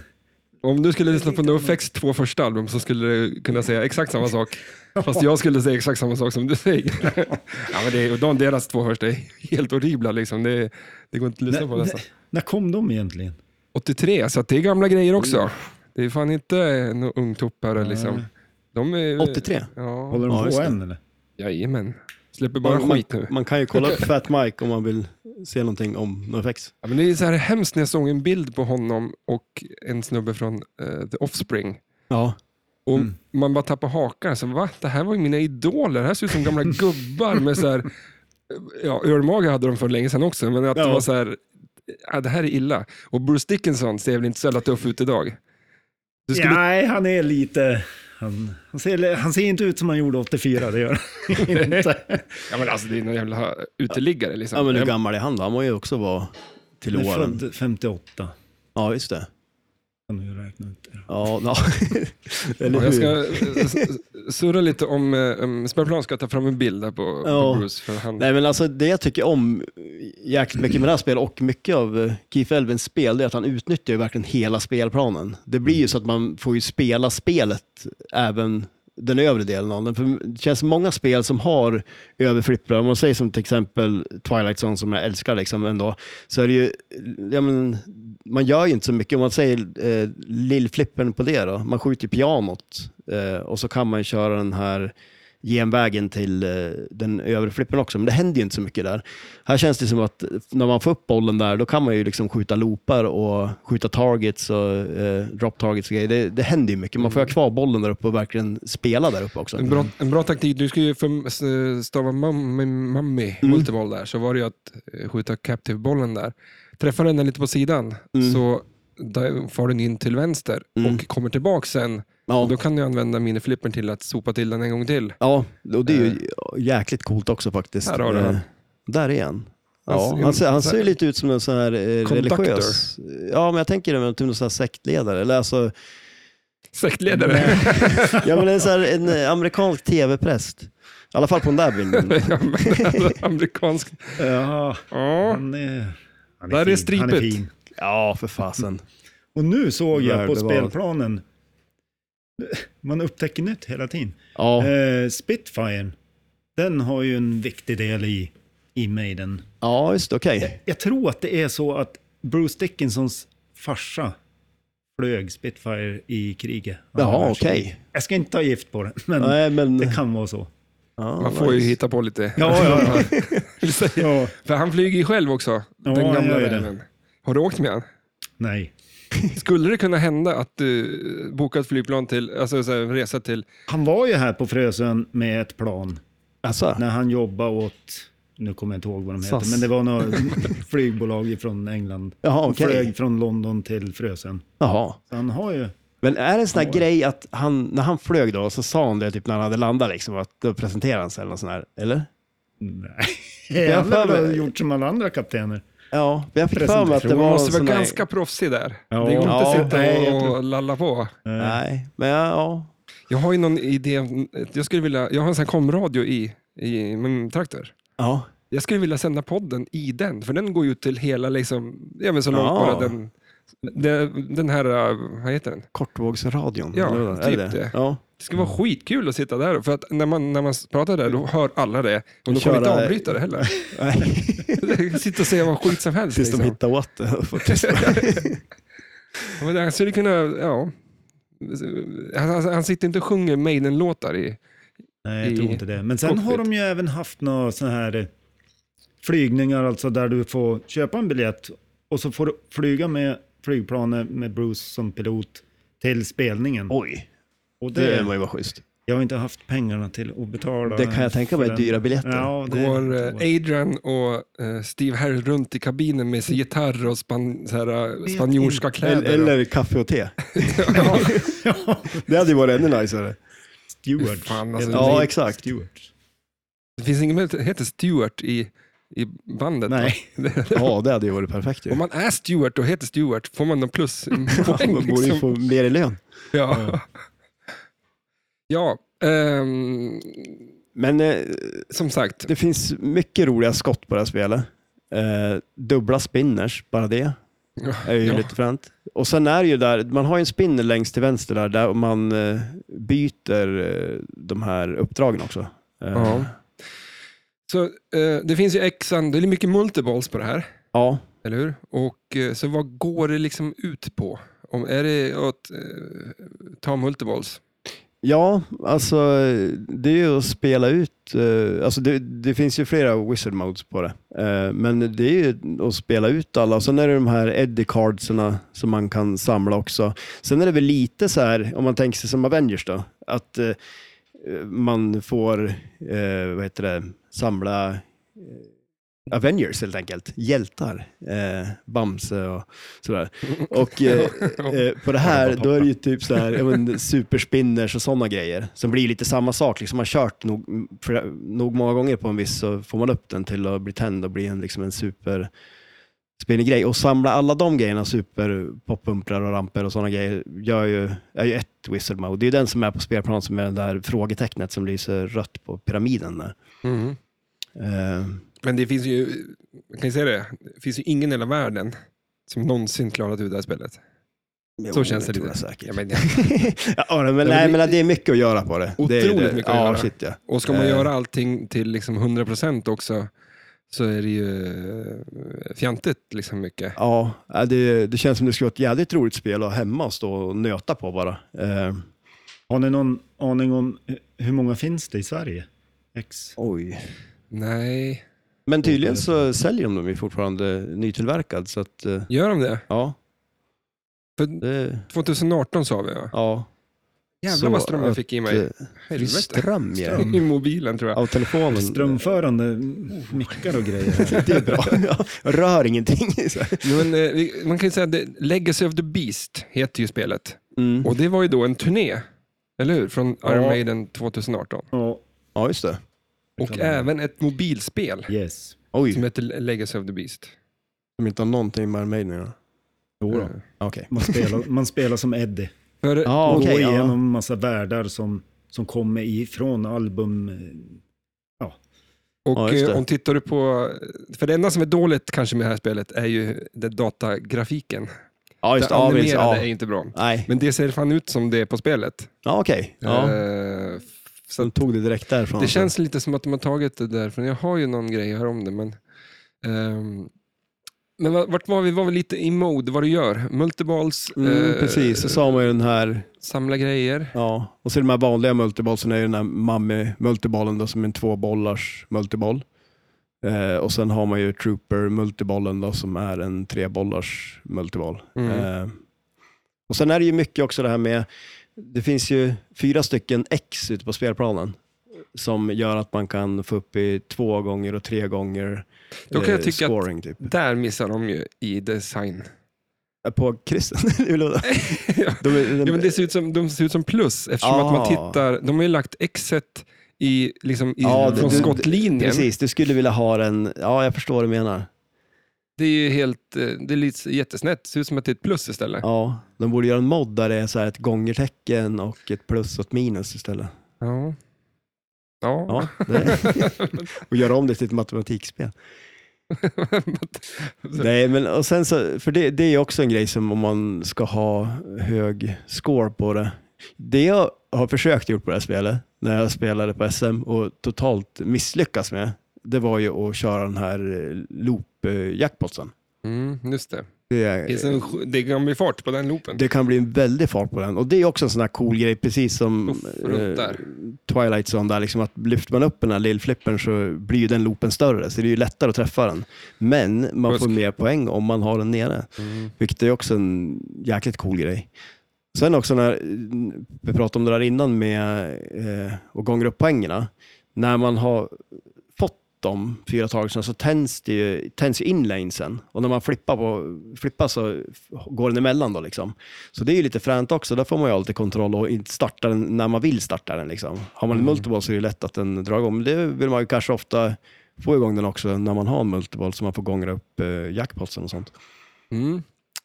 Om du skulle lyssna på NoFX två första album så skulle du kunna säga exakt samma sak. Fast jag skulle säga exakt samma sak som du säger. ja, men det är, och de, deras två första är helt horribla. Liksom. Det, det går inte att lyssna på När- nästan. När kom de egentligen? 83, så att det är gamla grejer också. Det är fan inte några ungtuppare liksom. De är, 83. Ja, Håller de Ja, just på det. än eller? jajamän. Släpper bara man, skit nu. man kan [LAUGHS] ju kolla upp Fat Mike om man vill se någonting om NoFX. Ja, men det är så här hemskt när jag såg en bild på honom och en snubbe från eh, The Offspring. Ja. Och Mm. Man bara tappar hakan. Så, Va? Det här var ju mina idoler. Det här ser ut som gamla [LAUGHS] gubbar med så här, ja, örmage hade de för länge sedan också, men att det Ja. var så här, ja, det här är illa. Och Bruce Dickinson ser väl inte så jävla tuff ut idag? Du skulle, Nej, han är lite... Han, han, ser, han ser inte ut som han gjorde 84, det gör [LAUGHS] han inte. ja, men alltså, det är någon jävla uteliggare. Liksom. ja, men hur Jag- gammal är han då? Han må ju också vara till Han är åren. född 58. Ja, just det. Kan du räkna ut det? Ja, [LAUGHS] ja. eller Ja, hur? jag ska eh, s- s- surra lite om, eh, om Spelplan ska ta fram en bild där på, Ja. på Bruce. För han, Nej, men alltså det jag tycker om jäkligt mycket med det här spelet och mycket av eh, Keith Elvins spel, det är att han utnyttjar ju verkligen hela spelplanen. Det blir ju så att man får ju spela spelet även den övre delen av den. För det känns många spel som har överflipprar, om man säger som till exempel Twilight Zone som jag älskar liksom ändå, så är det ju, ja men, man gör ju inte så mycket. Om man säger eh, lillflippen på det då, man skjuter ju pianot eh, och så kan man ju köra den här genvägen till eh, den övre flippen också, men det händer ju inte så mycket där. Här känns det som att när man får upp bollen där, då kan man ju liksom skjuta loopar och skjuta targets och eh, drop targets och grejer. Det, det händer ju mycket. Man får ha kvar bollen där uppe och verkligen spela där uppe också. En Mm. Mm. bra, en bra taktik, du skulle ju för- s- stava mummy, mummy Mm. multiboll där, så var det ju att eh, skjuta captive-bollen där. Träffar den den lite på sidan Mm. så där far den in till vänster och kommer tillbaka sen. Ja. Och då kan du använda miniflippern till att sopa till den en gång till. Ja, och det är ju jäkligt coolt också faktiskt. Eh. Här har du han. Eh, Där är han. Han Ja, ser- han, ser, han så ser här- ju lite ut som en sån här eh, Conductor. religiös... Ja, men jag tänker det, typ någon sån här sektledare. Eller alltså, Sektledare. ja, men en, sån här, en eh, amerikansk tv-präst. I alla fall på den [LAUGHS] där bilden. [LAUGHS] Ja, men alltså, Amerikansk. Ja, Ja. han är, han Där är fin. Han är stripet. fin. Ja, för fasen. Och nu såg jag på Värdeval. spelplanen, man upptäcker nytt hela tiden. Ja, Eh, Spitfiren, den har ju en viktig del i, i Maiden. ja just det, okej. Jag tror att det är så att Bruce Dickinsons farsa flög Spitfire i kriget. Andra Jaha, världskriget. okej. Jag ska inte ta gift på det, men Nej, men... det kan vara så. ja, Man får ju nice. hitta på lite. Ja, ja, ja. [LAUGHS] ja. För han flyger ju själv också. Ja, den han gamla gör ju det. vännen. Har du åkt med han? Nej. Skulle det kunna hända att du bokar ett flygplan till, alltså så här, en resa till, Han var ju här på Frösön med ett plan Alltså, när han jobbade åt, nu kommer jag inte ihåg vad de heter, SAS. men det var några [LAUGHS] flygbolag från England. jaha, Han okej. flög från London till Frösön. Jaha. Så han har ju... Men är det en sån här grej att han, när han flög då, så sa han det typ när han hade landat liksom, att då presenterade han sig eller något sånt här, eller? Nej, Jag han har för mig- väl gjort som alla andra kaptener. Ja, men jag fick för mig att det man var måste vara sån här- ganska proffsig där. Ja. det går inte Ja, att sitta nej, jag och, tror- och lalla på. Nej, men ja, ja. Jag har ju någon idé, om- jag skulle vilja, jag har en sån här komradio i, i min traktor. ja. Jag skulle vilja sända podden i den, för den går ju till hela, liksom, ja men så långt Ja. bara den, den, den här, äh, vad heter den? Kortvågsradion. Ja, eller vad är typ det? det. Ja. Det skulle vara skitkul att sitta där, för att när man, när man pratar där, då hör alla det. Och då kommer Köra- inte avbryta det [LAUGHS] heller. [LAUGHS] Nej, Sitta och säga vad skit som helst. tills de liksom. hittar what the- faktiskt. Men han skulle kunna, ja. Han, han, han sitter inte och sjunger Maiden-låtar i... Nej, i jag tror inte det. Men sen cockpit. har de ju även haft några sådana här eh, flygningar, alltså där du får köpa en biljett och så får du flyga med flygplanet med Bruce som pilot till spelningen. Oj, och det det, var ju bara schysst. jag har inte haft pengarna till att betala. Det kan jag tänka för mig, den. dyra biljetter. Ja, det Går eh, tror jag. Adrian och eh, Steve Harris runt i kabinen med sin gitarr och span, så här, eh, Vet spanjorska Eller, kläder? och- eller kaffe [LAUGHS] och te. [LAUGHS] Det hade ju varit ännu niceare. Stewart. Fan, alltså, Ja, exakt. Stewart. Det finns ingen möjlighet, det heter Stewart i, i bandet. va? [LAUGHS] Nej. Ja, det hade ju varit perfekt Om ju. man är Stewart och heter Stewart, får man någon [LAUGHS] pluspoäng? Man borde ju liksom? få mer i lön. Ja. ja ehm, Men eh, som sagt, det finns mycket roliga skott på det här spelet. Eh, dubbla spinners, bara det. är ju Ja. lite fränt. Och sen är det ju där, man har ju en spinner längst till vänster där, där man eh, byter eh, de här uppdragen också. Eh, Ja. Så, eh, det finns ju exan, det är mycket multiballs på det här, ja. eller hur? Och, eh, så vad går det liksom ut på? Om, är det att eh, ta multiballs? Ja, alltså det är ju att spela ut, eh, alltså det, det finns ju flera wizard modes på det, eh, men det är ju att spela ut alla. Och sen är det de här eddy cardserna som man kan samla också. Sen är det väl lite så här, om man tänker sig som Avengers då, att eh, man får, eh, vad heter det, samla eh, Avengers helt enkelt, hjältar, eh, Bamse och sådär. Och eh, eh, på det här, då är det ju typ så här, ja, men, superspinners och sådana grejer. Som blir lite samma sak, liksom man har kört nog, för, nog många gånger på en viss så får man upp den till att bli tänd och bli en, liksom en super grej. Och samla alla de grejerna, super poppumprar och ramper och sådana grejer, gör ju, är ju ett wizard mode. Det är ju den som är på spelplan som är det där frågetecknet som lyser rött på pyramiden där. Mm. Eh, Men det finns ju, jag kan ju säga det, det finns ju ingen i hela världen som någonsin klarat ut det här spelet. Så känns det tror jag lite. säkert. Ja, men, [LAUGHS] Ja, men, men nej, det- men det är mycket att göra på det. det är ju Otroligt det. mycket att ja, göra. Shit, ja. och ska man Eh. göra allting till liksom 100% också så är det ju eh, fjantigt liksom mycket. Ja, äh, det, det känns som det skulle vara ett jävligt roligt spel att ha hemma och stå och nöta på bara. Eh, Har ni någon aning om hu- hur många finns det i Sverige? X. oj. Nej, Men tydligen så säljer de dem ju fortfarande nytillverkad, så att eh, gör de det? ja. För Det, 2018 sa vi va? ja. Jävlar Så vad ström jag att, fick i eh, mig. Helvete. Ström ja. I mobilen tror jag. av telefonen. Strömförande mickar och grejer. här. [LAUGHS] Det är bra. Ja, Rör ingenting. Så. Men, eh, vi- man kan ju säga att det- Legacy of the Beast heter ju spelet. Mm. Och det var ju då en turné, eller hur? Från Iron Ja. Maiden 2018. Ja, Ja, just det. Och kallar det. även ett mobilspel yes. Oj, som heter Legacy of the Beast. som inte har någonting med Iron Maiden att göra. Jodå. Okej. [LAUGHS] Man spelar, man spelar som Eddie. Eh, För, Ja, och okej, går ja. igenom massa världar som, som kommer ifrån album. eh, och Ja, just det. eh, om tittar du på, för det enda som är dåligt kanske med det här spelet är ju den datagrafiken. Ja, just det det. Ja, visst, animerade är ja. inte bra. Nej, Men det ser fan ut som det är på spelet. ja, okej. Ja. Eh, så De tog det direkt därifrån. Det känns lite som att de har tagit det därifrån. Jag har ju någon grej här om det, men... ehm, men va- vart var vi? Var vi lite i mode, vad du gör? Multiballs, Mm, eh, precis, så sa man ju den här, samla grejer. ja. Och så de här vanliga multibollsarna är ju den här Mammi-multibollen då, som är en tvåbollars multiboll. Eh, och sen har man ju Trooper-multibollen då, som är en trebollars multiboll. Mm. Eh, och sen är det ju mycket också det här med, det finns ju fyra stycken X ute på spelplanen som gör att man kan få upp i två gånger och tre gånger Då kan jag tycka att- scoring. Typ. Eh, Där missar de ju i [LAUGHS] design. På Kristen, eller vadå? [LAUGHS] de, är- de, Ja, men det ser ut som, de ser ut som plus, eftersom att man Ah. tittar... De har ju lagt exet i, liksom, i, Ja, det- från det- skottlinjen. Precis, du skulle vilja ha den, ja jag förstår vad du menar. Det är ju helt, eh, det är lite jättesnett. Det ser ut som att det är ett plus istället. Ja, de borde göra en mod där det är så här ett gångertecken och ett plus och ett minus istället. Ja. Ja. Ja, det. [LAUGHS] och göra om det till ett matematikspel. Nej, men och sen så, för det, det är ju också en grej som om man ska ha hög score på det. Det jag har försökt gjort på det här spelet, när jag spelade på SM och totalt misslyckas med, det var ju att köra den här eh, loop-jackpotsen. Mm, just det. Det, Det är så- Det kan bli fart på den loopen. Det kan bli en väldig fart på den. Och det är också en sån här cool grej, precis som Uff, runt eh, där. Twilight Zone, där liksom att lyfter man upp den här lillflippern så blir ju den loopen större, så det är ju lättare att träffa den. Men man Fusk. får mer poäng om man har den nere, Mm. vilket är också en jäkligt cool grej. Sen också när, vi pratade om det där innan med eh, och gånger upp poängerna. När man har fått de fyra tagelserna så tänds det ju, tänds ju inlanesen och när man flippar, på, flippar så går den emellan då liksom. Så det är ju lite fränt också, där får man ju alltid kontroll och inte starta den när man vill starta den liksom. Har Mm. man en multiball så är det lätt att den drar igång, men det vill man ju kanske ofta få igång den också när man har en multiball så man får gånger upp eh, jackpotsen och sånt. Mm.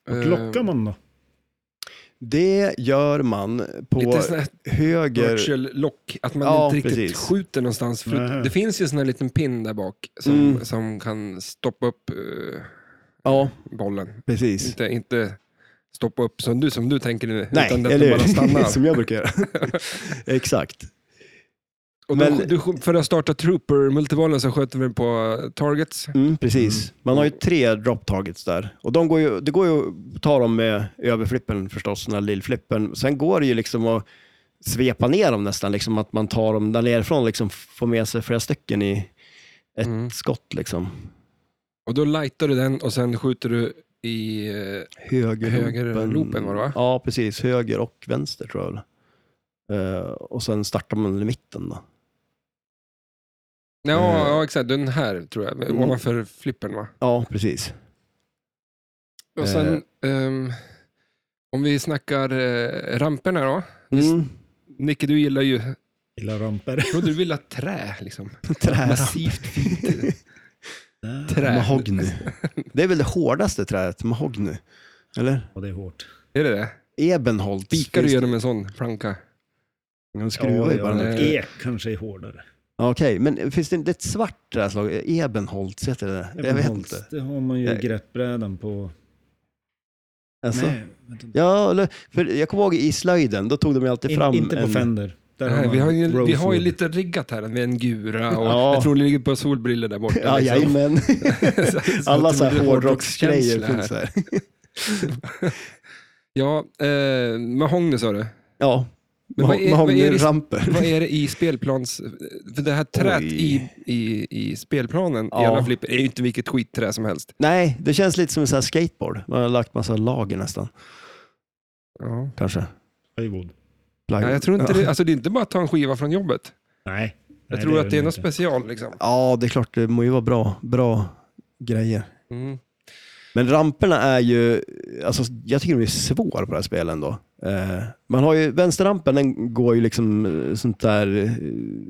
Och Eh, lockar man då? Det gör man på Lite sån här höger... virtual lock, att man Ja, inte riktigt precis. skjuter någonstans. För Nej. det finns ju sån här liten pin där bak som, Mm. som kan stoppa upp eh, Ja, bollen. precis. Inte, inte stoppa upp som du, som du tänker nu, Nej, utan att eller den bara stannar. [LAUGHS] Som jag [LAUGHS] brukar göra. Exakt. Och då, Men- du, för att starta Trooper-multibollen så sköter vi den på eh, targets. Mm, precis. Man har ju tre drop targets där. Och de går ju, det går ju att ta dem med överflippen förstås, den här lillflippen. Sen går det ju liksom att svepa ner dem nästan, liksom att man tar dem där nerifrån och liksom får med sig flera stycken i ett Mm. skott. Liksom. Och då lightar du den och sen skjuter du i... eh, Högerloopen var det, va? Ja, precis. Höger och vänster tror jag. väl. Eh, och sen startar man i mitten då. Ja, Eh. ja, exakt. Den här tror jag, Mm. ovanför flippen va? Ja, precis. Och sen, ehm, om vi snackar eh, ramperna då. Mm. Nicke, du gillar ju, Gillar ramper. jag trodde du ville ha trä. Liksom. Trära. Massivt fint [LAUGHS] trä. Mahogny. Det är väl det hårdaste trädet, mahogny. Eller? Ja, det är hårt. Är det det? Ebenholt. Spikar du Finns genom en sån planka? det- De skruvar ju bara ja. ner. Ek kanske är hårdare. Ja, Okej, men finns det inte ett svart träslag? Ebenholts heter det. där. Jag vet inte. Det har man ju Jag- greppbrädan på. Alltså, Nej, vänta. ja, eller- för jag kommer ihåg i slöjden, då tog de ju alltid In, fram inte på en... Fender. Där Nej, vi, har ju, vi har ju Rosewood. lite riggat här med en gura [LAUGHS] och Ja. jag tror det ligger på solbriller där borta. Ja, liksom. jajamän. [LAUGHS] Så Alla att så det här blir hårdrocksgrejer hårdrockskänsla här. finns här. Ja, eh, mahogny sa du. Ja, Men vad är- vad är det- mahognyramper. Vad är det i spelplans... För det här trät i, Oj. i, i spelplanen i Ja. alla flipper är ju inte vilket skitträ som helst. Nej, det känns lite som en sån här skateboard. Man har lagt massa lager nästan, Ja. kanske. Plywood. Plagg. Nej, jag tror inte ja. det, alltså det är inte bara att ta en skiva från jobbet. Nej. Jag nej, tror att det är nog något inte. special. Liksom. Ja, det är klart, det må ju vara bra, bra grejer. Mm. Men ramperna är ju, alltså, jag tycker de är svåra på det här spelet ändå. Eh, man har ju, vänsterrampen den går ju liksom eh, sånt där, eh,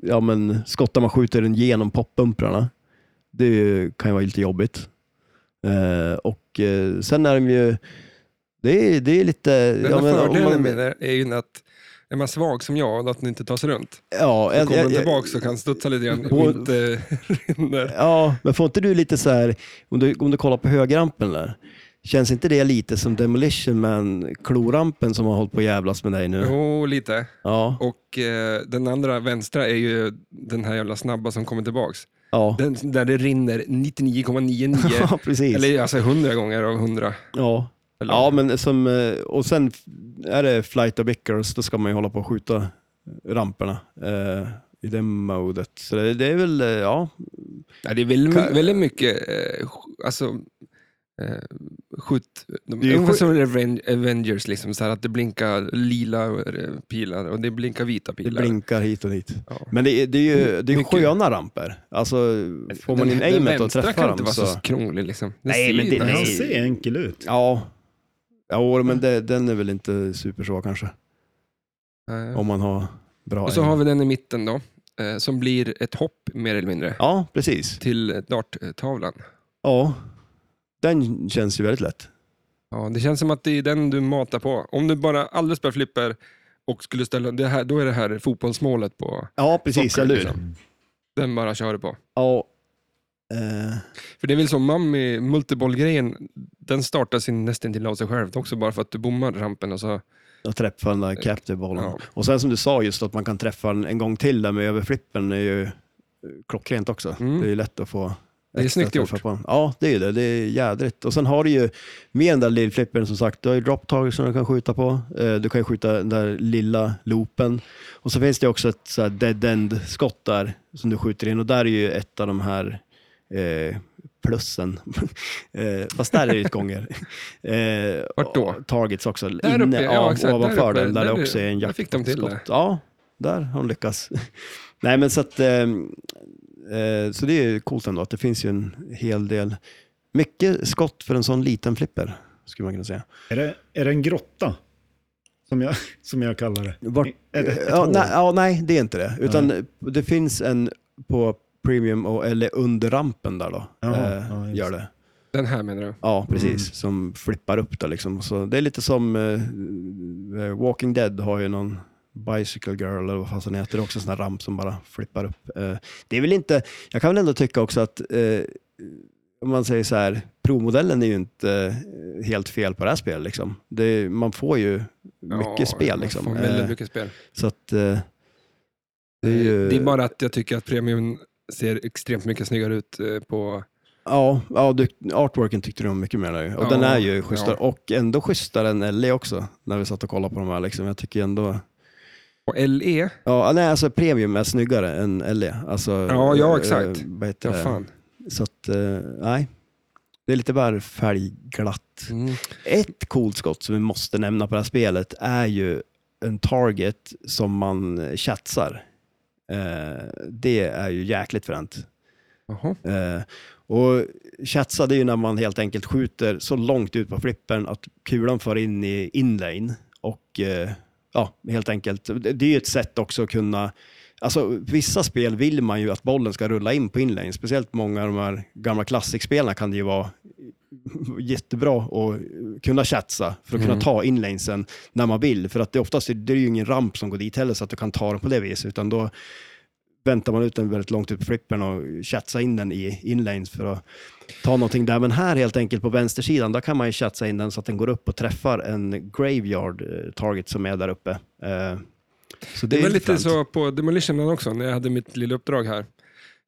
ja men skottar man skjuter den genom poppumprarna. Det är ju- kan ju vara lite jobbigt. Eh, och eh, sen är de ju, det är, det är lite... Den ja, ja, men om fördelen man- med det är ju att är man svag som jag och att den inte tar sig runt, Ja, så en- kommer den jag- jag- tillbaka och kan studsa lite grann eh, och Hon- inte [LAUGHS] rinner. Ja, men får inte du lite så här, om du, om du kollar på högerrampen där, känns inte det lite som Demolition Man, klorampen som har hållit på och jävlas med dig nu? Jo, lite. Ja, Och eh, den andra vänstra är ju den här jävla snabba som kommer tillbaks. ja. Den, där det rinner 99,99 [LAUGHS] ja precis. Eller alltså 100 gånger av 100. ja. Eller- ja, men som, eh, och sen f- är det Flight of Icarus, då ska man ju hålla på och skjuta ramperna eh, i det modet. Så det, det är väl, eh, ja, Ja, det är väldigt, Kan- väldigt mycket, eh, sk- alltså, eh, skjut, de, Det är ju ungefär skjut- som i Aven- Avengers, liksom, så här, att det blinkar lila eh, pilar och det blinkar vita det pilar. blinkar hit och dit. Ja. Men det, är- det är ju det är ju Mycket. sköna ramper. Alltså, får man den, in den aimet och vänstra träffar kan inte dem vara så, så... krånglig. Liksom. Det Nej, ser men ju det- nice Han Nej. ser enkel ut. Ja, ja men det, den är väl inte supersvår kanske. ut. Om man har bra Och så aim. har vi den i mitten då, eh, som blir ett hopp mer eller mindre Ja, precis. till darttavlan. Ja, den känns ju väldigt lätt. Ja, det känns som att det är den du matar på. Om du bara aldrig spelar flipper och skulle ställa det här, då är det här fotbollsmålet på Ja, precis. Socker, eller hur? liksom. Den bara kör du på. Ja. Eh, För det är väl som Mammi, multiboll-grejen, den startar sin nästintill av sig själv också bara för att du bommar rampen alltså, och så... och träffa den där captive bollen. Ja. Och sen som du sa just att man kan träffa den en gång till där med överflippen är ju eh, klockrent också. Mm. Det är ju lätt att få Det är extra snyggt gjort. träffar på den. Ja, det är ju det. Det är jädrigt. Och sen har du ju med den där lillflippen som sagt, du har ju drop target som du kan skjuta på. Eh, Du kan ju skjuta den där lilla loopen. Och så finns det också ett så här dead end skott där som du skjuter in och där är ju ett av de här eh, plussen. [LAUGHS] eh, fast där är det ju ett gånger. Eh, [LAUGHS] Vart då? och Targets också. Där inne uppe, ja, av, exakt, där ovanför uppe, den där, där det också är en där fick de till jaktskott. det. Ja, där har de lyckats. [LAUGHS] Nej men så att, eh, eh, så det är ju coolt ändå att det finns ju en hel del, mycket skott för en sån liten flipper skulle man kunna säga. Är det, är det en grotta? Som jag, som jag kallar det. Vart- eh, Är det ett ja, hål? nej, ja, nej, det är inte det. Utan det finns en på premium och, eller under rampen där då. Jaha, eh, ja, just gör det. Den här menar du? Ja, precis. Som flippar upp där liksom. Så det är lite som eh, Walking Dead har ju någon Bicycle Girl eller vad fan den heter. Det är också en sån här ramp som bara flippar upp. Eh, det är väl inte, jag kan väl ändå tycka också att eh, om man säger så här, provmodellen är ju inte eh, helt fel på det här spelet liksom. Det, är- man får ju mycket Ja, spel man liksom. får Eh, Väldigt mycket spel. så att eh, det är ju... Det är bara att jag tycker att premium ser extremt mycket snyggare ut eh, på... Ja, ja du, artworken tyckte du om mycket mer nu. Och Ja, den är ju schysstare. ja. Och ändå schysstare än LE också, när vi satt och kollade på de här. Liksom. Jag tycker ändå... På E. LE? Ja, nej, alltså premium är snyggare än LE. Alltså, Ja, ja, eh, exakt. vad heter Ja, det? fan. Så att, eh, nej. Det är lite bara färgglatt. Mm. Ett coolt skott som vi måste nämna på det här spelet är ju en target som man chatsar. Eh, det är ju jäkligt fränt. Jaha. Eh, och chatsa det är ju när man helt enkelt skjuter så långt ut på flippen att kulan far in i inlane. Och eh, ja, helt enkelt, det det är ju ett sätt också att kunna Alltså vissa spel vill man ju att bollen ska rulla in på inlane. Speciellt många av de här gamla klassikspelarna kan det ju vara jättebra att kunna chatsa för att Mm. kunna ta inlanesen när man vill. För att det oftast är, det är ju ingen ramp som går dit heller så att du kan ta den på det viset. Utan då väntar man ut den väldigt långt ut på flippern och chatsa in den i inlanes för att ta någonting där. Men här helt enkelt på vänstersidan, där kan man ju chatsa in den så att den går upp och träffar en graveyard eh, target som är där uppe. Eh, Så det, Det är var lite fränt. så på Demolition Man också, när jag hade mitt lilla uppdrag [LAUGHS] här.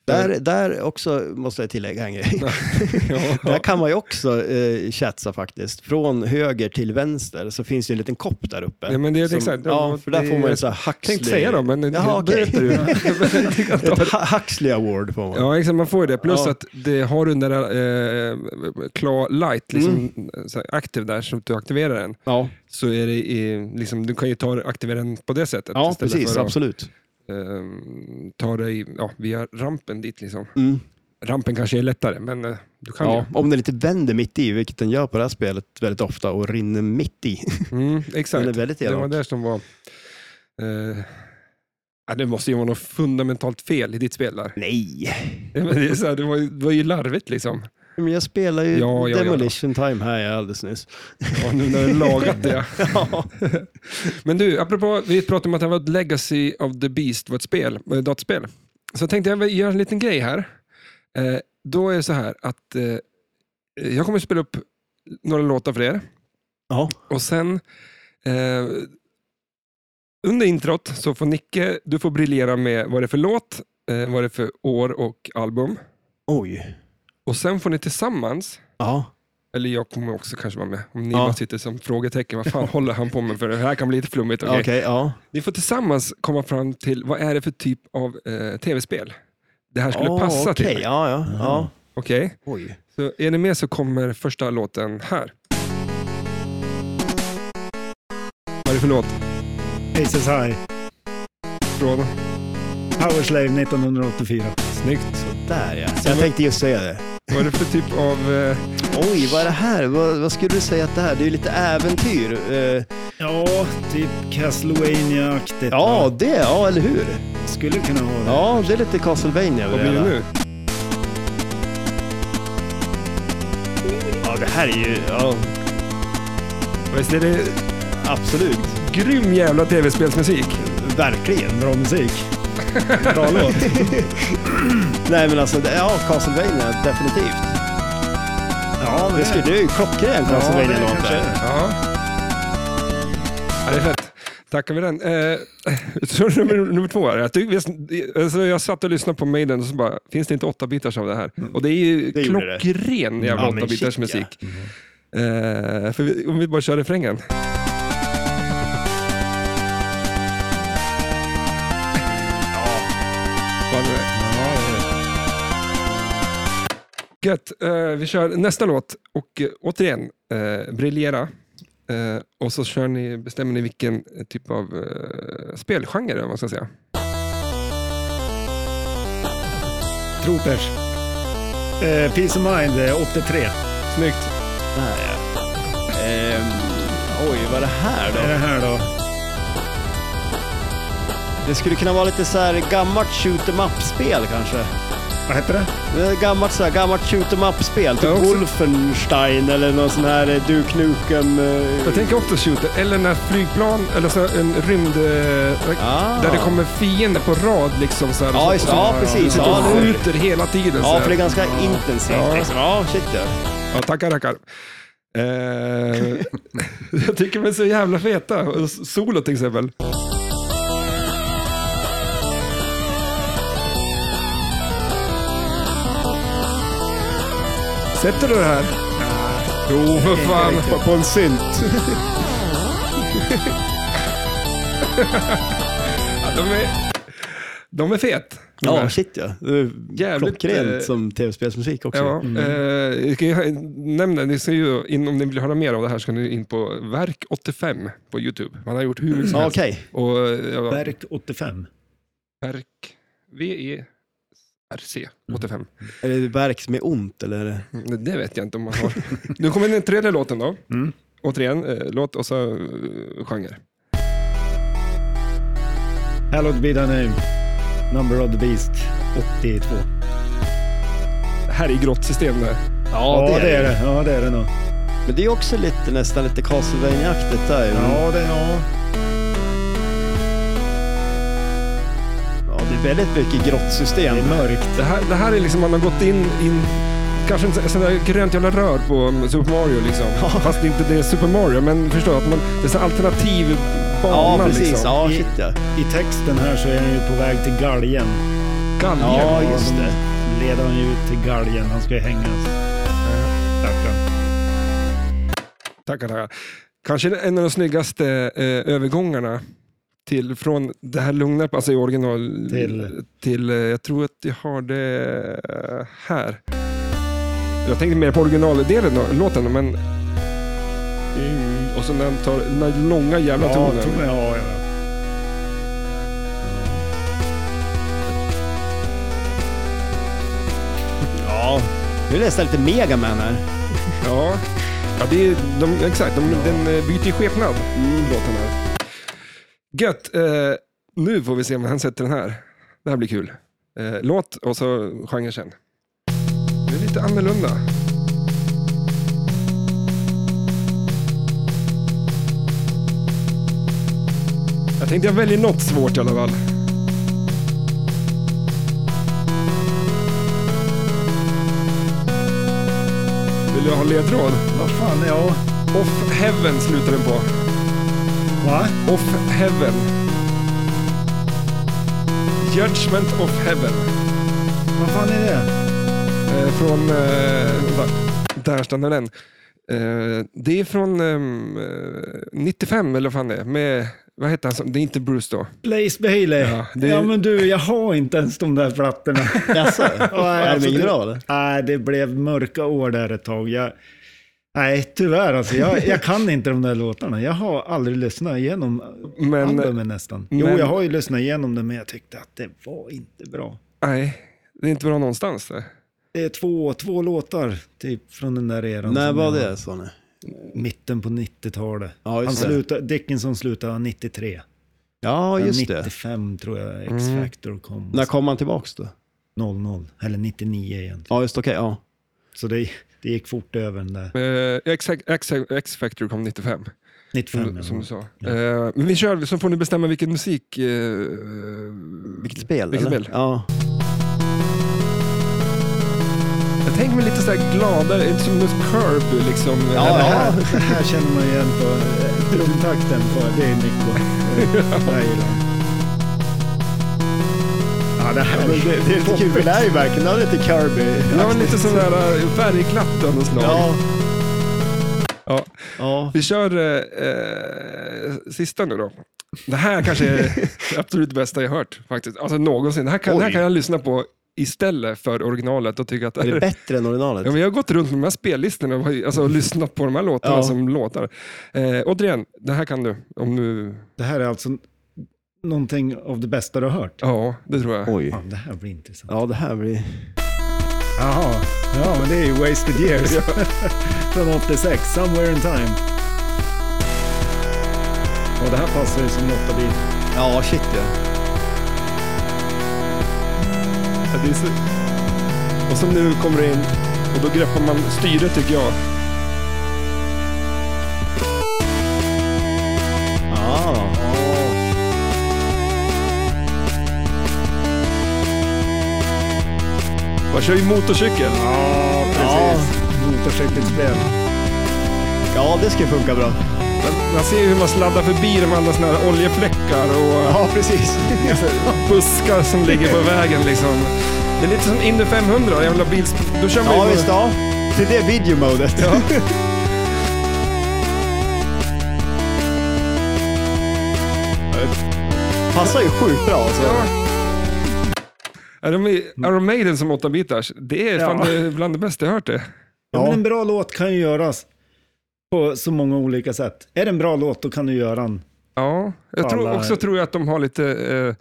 Där, där också måste jag [LAUGHS] tillägga en grej. Ja. Där kan man ju också eh, chatsa faktiskt. Från höger till vänster så finns det en liten kopp där uppe. Ja, men det är som, exakt. ja, för där det- får man ju så här Jag Huxley... tänkte säga det, men Jaha, [LAUGHS] okej. berättar du. Jag tycker att- [LAUGHS] Ett Hu- Huxley Award får man. Ja, exakt, man får ju det. Plus Ja. att det har du den där eh, Claw Light liksom, Mm. så här, aktiv där, så att du aktiverar den. ja, Så är det i, liksom, du kan ju ta, aktivera den på det sättet. ja istället precis. för att, Absolut. ehm, ta dig ja, via rampen dit. Liksom. Mm. Rampen kanske är lättare, men eh, du kan Ja, om den inte vänder mitt i, vilket den gör på det här spelet väldigt ofta och rinner mitt i. [LAUGHS] ju. Mm, Den är exakt. väldigt Det var elak. där som var... Eh, ja, det måste ju vara något fundamentalt fel i ditt spel där. [LAUGHS] Nej, Ja, men Det, är så här, det, var, ju- det var ju larvigt liksom. men jag spelar ju Ja, ja, ja. Demolition Time här [LAUGHS] alldeles nyss. Ja, nu när du lagat det. [LAUGHS] Ja. Men du, apropå, vi pratade om att det var ett Legacy of the Beast var ett spel, var ett dataspel. Så tänkte jag göra en liten grej här. Eh, då är det så här att eh, jag kommer att spela upp några låtar för er. Ja. Och sen eh, under introt så får Nicke, du får briljera med vad det är för låt, eh, vad det är för år och album. Oj. Och sen får ni tillsammans Ja. eller jag kommer också kanske vara med. Om ni Ja. bara sitter som frågetecken, vad fan håller han på med för? Det här kan bli lite flummigt. Okej, okej? ja. Ni får tillsammans komma fram till vad är det för typ av eh, tv-spel det här skulle Ah, passa okej, till. Mm. Ja, ja, ja. Okej, Oj. så är ni med så kommer första låten här. Vad är det för låt? Aces High, Från? Powerslave 1984. Snyggt. Där ja. Jag tänkte just säga det. Vad är det för typ av... Eh, Oj, vad är det här? Vad, vad skulle du säga att det här? Det är ju lite äventyr. Eh, Ja, typ Castlevania-aktigt. ja, va? det. Ja, eller hur? Skulle kunna vara det. Ja, det är lite Castlevania över vad blir det hela. nu? Ja, det här är ju... Ja, Visst är det absolut. grym jävla tv-spelsmusik? Verkligen. Bra [LAUGHS] musik. Bra låt. Nej, men alltså, det- ja, Castlevania, definitivt. Ja, Det, skulle, det är ju klockren Castlevania-låt kanske där. är. Ja. ja, det är fett. Tackar vi den. Eh, [LAUGHS] så nummer, nummer två. Är att du, alltså jag satt och lyssnade på Maiden och så bara, finns det inte åtta bitars av det här? Och det är ju Mm. Det gjorde det. klockren jävla Ja, men åtta bitars shit, ja. Mm-hmm. musik. Eh, för vi, om vi bara kör refrängen. Fan, det- Gött. Eh, vi kör nästa låt och eh, återigen, eh, briljera. Eh, och så kör ni, bestämmer ni vilken eh, typ av eh, spelgenre eller vad man ska säga. Troopers. Eh, Peace of Mind, eh, 83. Snyggt. Där, ja. Ehm, oj, vad är det här Är det då? här då? Det skulle kunna vara lite så här gammalt shoot em up-spel kanske. Vad heter det? Det är ett Eh, Gammalt, så här, gammalt shoot em up-spel, typ Ja, också. Wolfenstein eller någon sån här eh, Duke Nukem. eh, Jag tänker också shooter, eller när flygplan, eller så en rymd... Eh, Ah. Där det kommer fiender på rad liksom. Så här, Ja, och just- så, ja, och så, precis. Och Ja, nu- skjuter hela tiden. så Ja, här. för det är ganska intensivt. Ja. Liksom. Ja, shit ja. Ja, tackar, tackar. Eh, [LAUGHS] jag tycker de är så jävla feta. Och s- Solo till exempel. Sätter du det här? Jo, för fan. På en synt. Ja, De är, de är fet. de Ja, här. shit ja. Det är Jävligt, eh, Klockrent som tv-spelsmusik också. Mm. Ja, eh, jag kan ju nämna, ni ska ju, in, om ni vill höra mer av det här ska ni in på Verk85 på YouTube. Man har gjort hur mycket som Mm. Ja, helst. Okej. Och, eh, ja, Verk 85. Verk, V-E-R-C 85. Är det verk som är ont eller? är det- Mm, Det vet jag inte om man har. Nu kommer den tredje låten då. Mm. Återigen, eh, låt och så eh, genre. Hallowed be thy name. Number of the Beast, 82. Det här är grått system där. Ja, det, är det. Ja, det är det nog. Men det är också lite, nästan lite Castlevania-aktigt där ju. Mm. Ja, det, ja. ja, det väldigt mycket grottsystem. Det är mörkt. Det här, det här är liksom, man har gått in in kanske en sån där grönt jävla rör på um, Super Mario liksom. Fast inte det är Super Mario, men förstå att man, det är så alternativ bana Ja, precis. liksom. Ja, shit ja. I texten här så är han ju på väg till galgen. Galgen. Ja, just det. Leder han ju ut till galgen. Han ska ju hängas. Stackarn. Tackar, tackar. Kanske en av de snyggaste eh, övergångarna till, från det här lugna, alltså i original, Till? till, eh, jag tror att jag har det eh, här. Jag tänkte mer på originaldelen av låten, men... Mm, Och så när den tar den där långa jävla Ja, tonen. to- ja, ja. Ja, nu är det nästan lite Megaman här. Ja, ja det är, de, exakt. De, Den eh, byter ju skepnad, låten här. Gött. Eh, nu får vi se om han sätter den här. Det här blir kul. Eh, låt och så genre sen. Det är lite annorlunda. Jag tänkte jag väljer något svårt i alla fall. Vill du ha ledtråd? Vad fan, ja. Off Heaven slutar den på. Va? Off Heaven. Judgment of Heaven. Vad fan är det? Eh, från... Eh, vänta. där stannar den. Eh, det är från ehm, eh, 95 eller vad fan det är. Med, vad heter han? som- Det är inte Bruce då. Blaze Bailey. Ja, Ja, det- men du, jag har inte ens de där plattorna. [LAUGHS] Jaså? är det alltså, ingen det- bra eller? Nej, det blev mörka år där ett tag. Jag, nej, tyvärr alltså. Jag, jag kan inte de där låtarna. Jag har aldrig lyssnat igenom Men- albumen nästan. Jo, men- jag har ju lyssnat igenom det, men jag tyckte att det var inte bra. Nej, det är inte bra någonstans. Det. Det är två, två låtar typ från den där eran. När som var jag- det sa ni? Mitten på 90-talet. Ja, Han just det. slutade, Dickinson slutade 93. Ja, just det. 95 tror jag X-Factor kom. När kom han tillbaks då? 00, eller 99 egentligen. Ja, just okej. ja. Så det, det gick fort över den där. Eh, X- X- X-Factor kom 95, 95 ja. som du sa. Eh, men vi kör, så får ni bestämma vilken musik... Eh, Vilket spel? Vilket eller? spel? Ja. jag tänker mig lite så här gladare, inte som just Curb liksom. Ja, det, ja. här, det här känner man igen på eh, trumtakten. På, det är Nico. Eh, jag gillar den. Ja, det här Men det, det är lite kul, för det här är ju verkligen det är lite Kirby. Ja, men lite sån där eh, färgglatt av något slag. Ja. Ja. ja. Vi kör eh, eh, sista nu då. Det här kanske är det absolut bästa jag hört faktiskt. Alltså någonsin. Det här kan, det här Oj. kan jag lyssna på istället för originalet och tycka att det Är det är bättre än originalet? Ja, men jag har gått runt med de här spellistorna och, alltså, och lyssnat på de här låtarna Mm. Ja. som låtar. Eh, återigen, det här kan du. Om du Det här är alltså någonting av det bästa du har hört. ja, det tror jag. Oj. Fan, det här blir intressant. Ja, det här blir... Jaha, ja men det är ju Wasted Years. Från 86, Somewhere in Time. Och det här passar ju som något av din... Ja, shit ja. Ja, det är så... Och så nu kommer det in och då greppar man styret tycker jag. Ah. Man kör ju motorcykel. Ja, precis. Motorcykelspel. Ja, det ska funka bra. Man, man ser ju hur man sladdar förbi de andra såna här oljefläckar och Ja, precis. buskar som ligger [LAUGHS] på vägen. Liksom. Det är lite som Indy 500, jävla bils... Då kör man Ja, ju... visst ja. Till det videomodet. Ja. Passar ju sjukt bra alltså. Ja. Är de i Iron Maiden som 8-bitars? Det är fan Ja. det, bland det bästa jag hört det. Ja. Men en bra låt kan ju göras på så många olika sätt. Är det en bra låt då kan du göra den. Ja, jag tror Alla- också tror jag att de har lite, eh,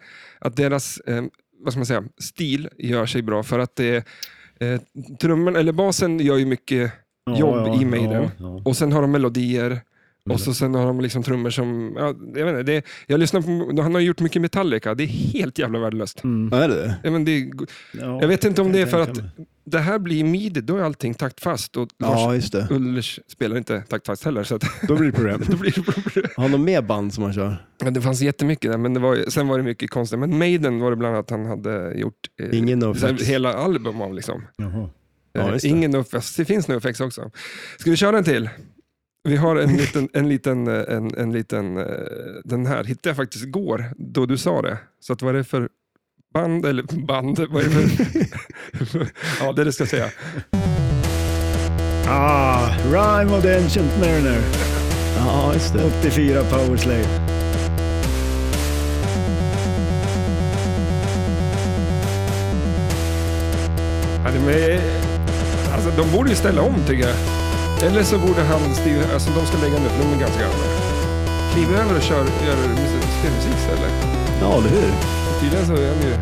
att deras, eh, vad ska man säga, stil gör sig bra för att det är, eh, trummen, eller basen gör ju mycket Ja, jobb ja, i Maiden. ja, Mm. ja. Och sen har de melodier Och så sen har de liksom trummor som... Ja, jag, vet inte, det, jag lyssnar på, han har gjort mycket Metallica, det är helt jävla värdelöst. Mm. Är det det? Ja, men det, är- Ja, jag vet inte om kan det är för tänka att mig. det här blir midi, då är allting taktfast och Lars Ja, just det. Ulrich spelar inte taktfast heller. Så att, [LAUGHS] Då blir det problem. då blir det Har han någon mer band som han kör? Men det fanns jättemycket där, men det var, ju- sen var det mycket konstigt. Men Maiden var det bland annat han hade gjort eh, Ingen no så här, effects. hela album av. Liksom. Jaha. Ja, Eh, just det. Ingen no effects. Det finns no effects också. Ska vi köra en till? Vi har en liten, en liten, eh, en, en liten eh, den här hittade jag faktiskt igår då du sa det. Så att vad är det för band, eller band, vad är det för, ja det är det jag ska säga. Ah, Rhyme of the Ancient Mariner, Ja, just det. 84 Power Slave. Ja, de, är, alltså, de borde ju ställa om tycker jag. Eller så borde han, Steve, alltså de ska lägga nu för de är ganska gamla. Kliv över och kör, gör musik- spelmusik istället. Ja, eller hur? Tydligen så är han ju...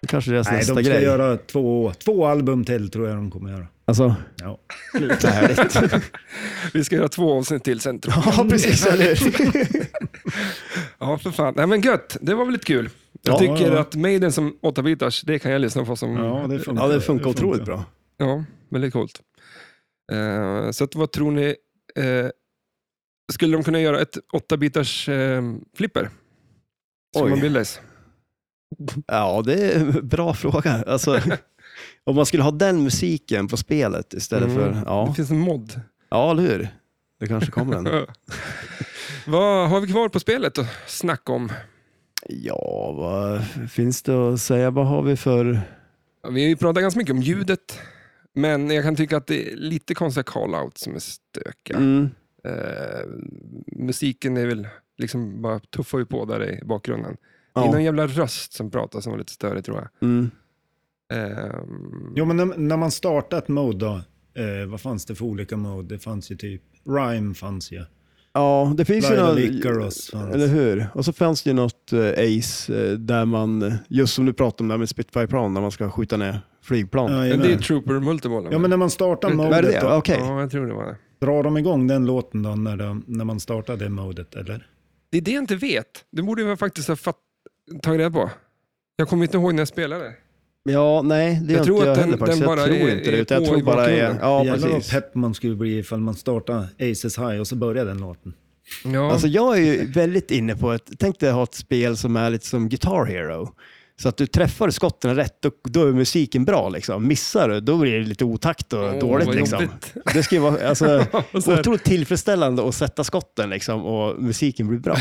Det kanske är deras Nej, de nästa ska grej. göra två, två album till tror jag de kommer göra. Alltså, Ja. sluta härligt. Vi ska göra två avsnitt till sen tror jag. [LAUGHS] [LAUGHS] ja, precis. Eller? hur? Ja, för fan. Nej men gött, det var väl lite kul. Jag Ja, tycker ja. att Maiden som 8-bitars, det kan jag lyssna på som... Ja, [LAUGHS] Ja, det funkar. Ja, det funkar otroligt bra. väldigt coolt. Eh, så att, vad tror ni? eh, skulle de kunna göra ett 8-bitars eh, flipper? Som Oj. man vill läsa. Ja, det är en bra fråga. Alltså, om man skulle ha den musiken på spelet istället Mm. för... Det Ja. finns en mod. ja, eller hur? Det kanske kommer en. Vad har vi kvar på spelet att snacka om? [LAUGHS] Ja, vad finns det att säga? Vad har vi för... Vi har ju pratat ganska mycket om ljudet, men jag kan tycka att det är lite konstiga call-outs som är stökiga. Mm. Eh, musiken är väl liksom bara tuffar ju på där i bakgrunden. Det är Ja. någon jävla röst som pratar som var lite större tror jag. Mm. Ehm, Jo, men när, när man startar ett mode då, eh, vad fanns det för olika mode? Det fanns ju typ, Rhyme fanns ju. Ja, det finns ju Lyle något, Icarus fanns. eller hur? Och så fanns det ju något eh, Ace eh, där man, eh, just som du pratade om där med Spitfire-plan, där man ska skjuta ner flygplan. Ja, men det är jajamän. Trooper Multiball. ja, men när man startar Vad är Vad är modet det? då, Okej. ja, jag tror det var det. drar de igång den låten då när, de, när man startar det modet eller? Det är det jag inte vet. Det borde jag faktiskt ha fatt- tagit reda på. Jag kommer inte ihåg när jag spelade. Ja, nej, det Jag är tror inte att den- jag heller faktiskt. den Jag bara tror är- inte det, är utan jag på tror i bara det är... bakgrunden. Ja, Jävlar vad precis. pepp man skulle bli ifall man startar Aces High och så börjar den låten. Ja. Alltså jag är ju väldigt inne på ett, tänk dig ha ett spel som är lite som Guitar Hero. Så att du träffar skotten rätt, då, då är musiken bra liksom. Missar du, då blir det lite otakt och Åh, dåligt vad liksom. jobbigt. Det ska ju [LAUGHS] vara alltså, Så här. otroligt tillfredsställande att sätta skotten liksom och musiken blir bra.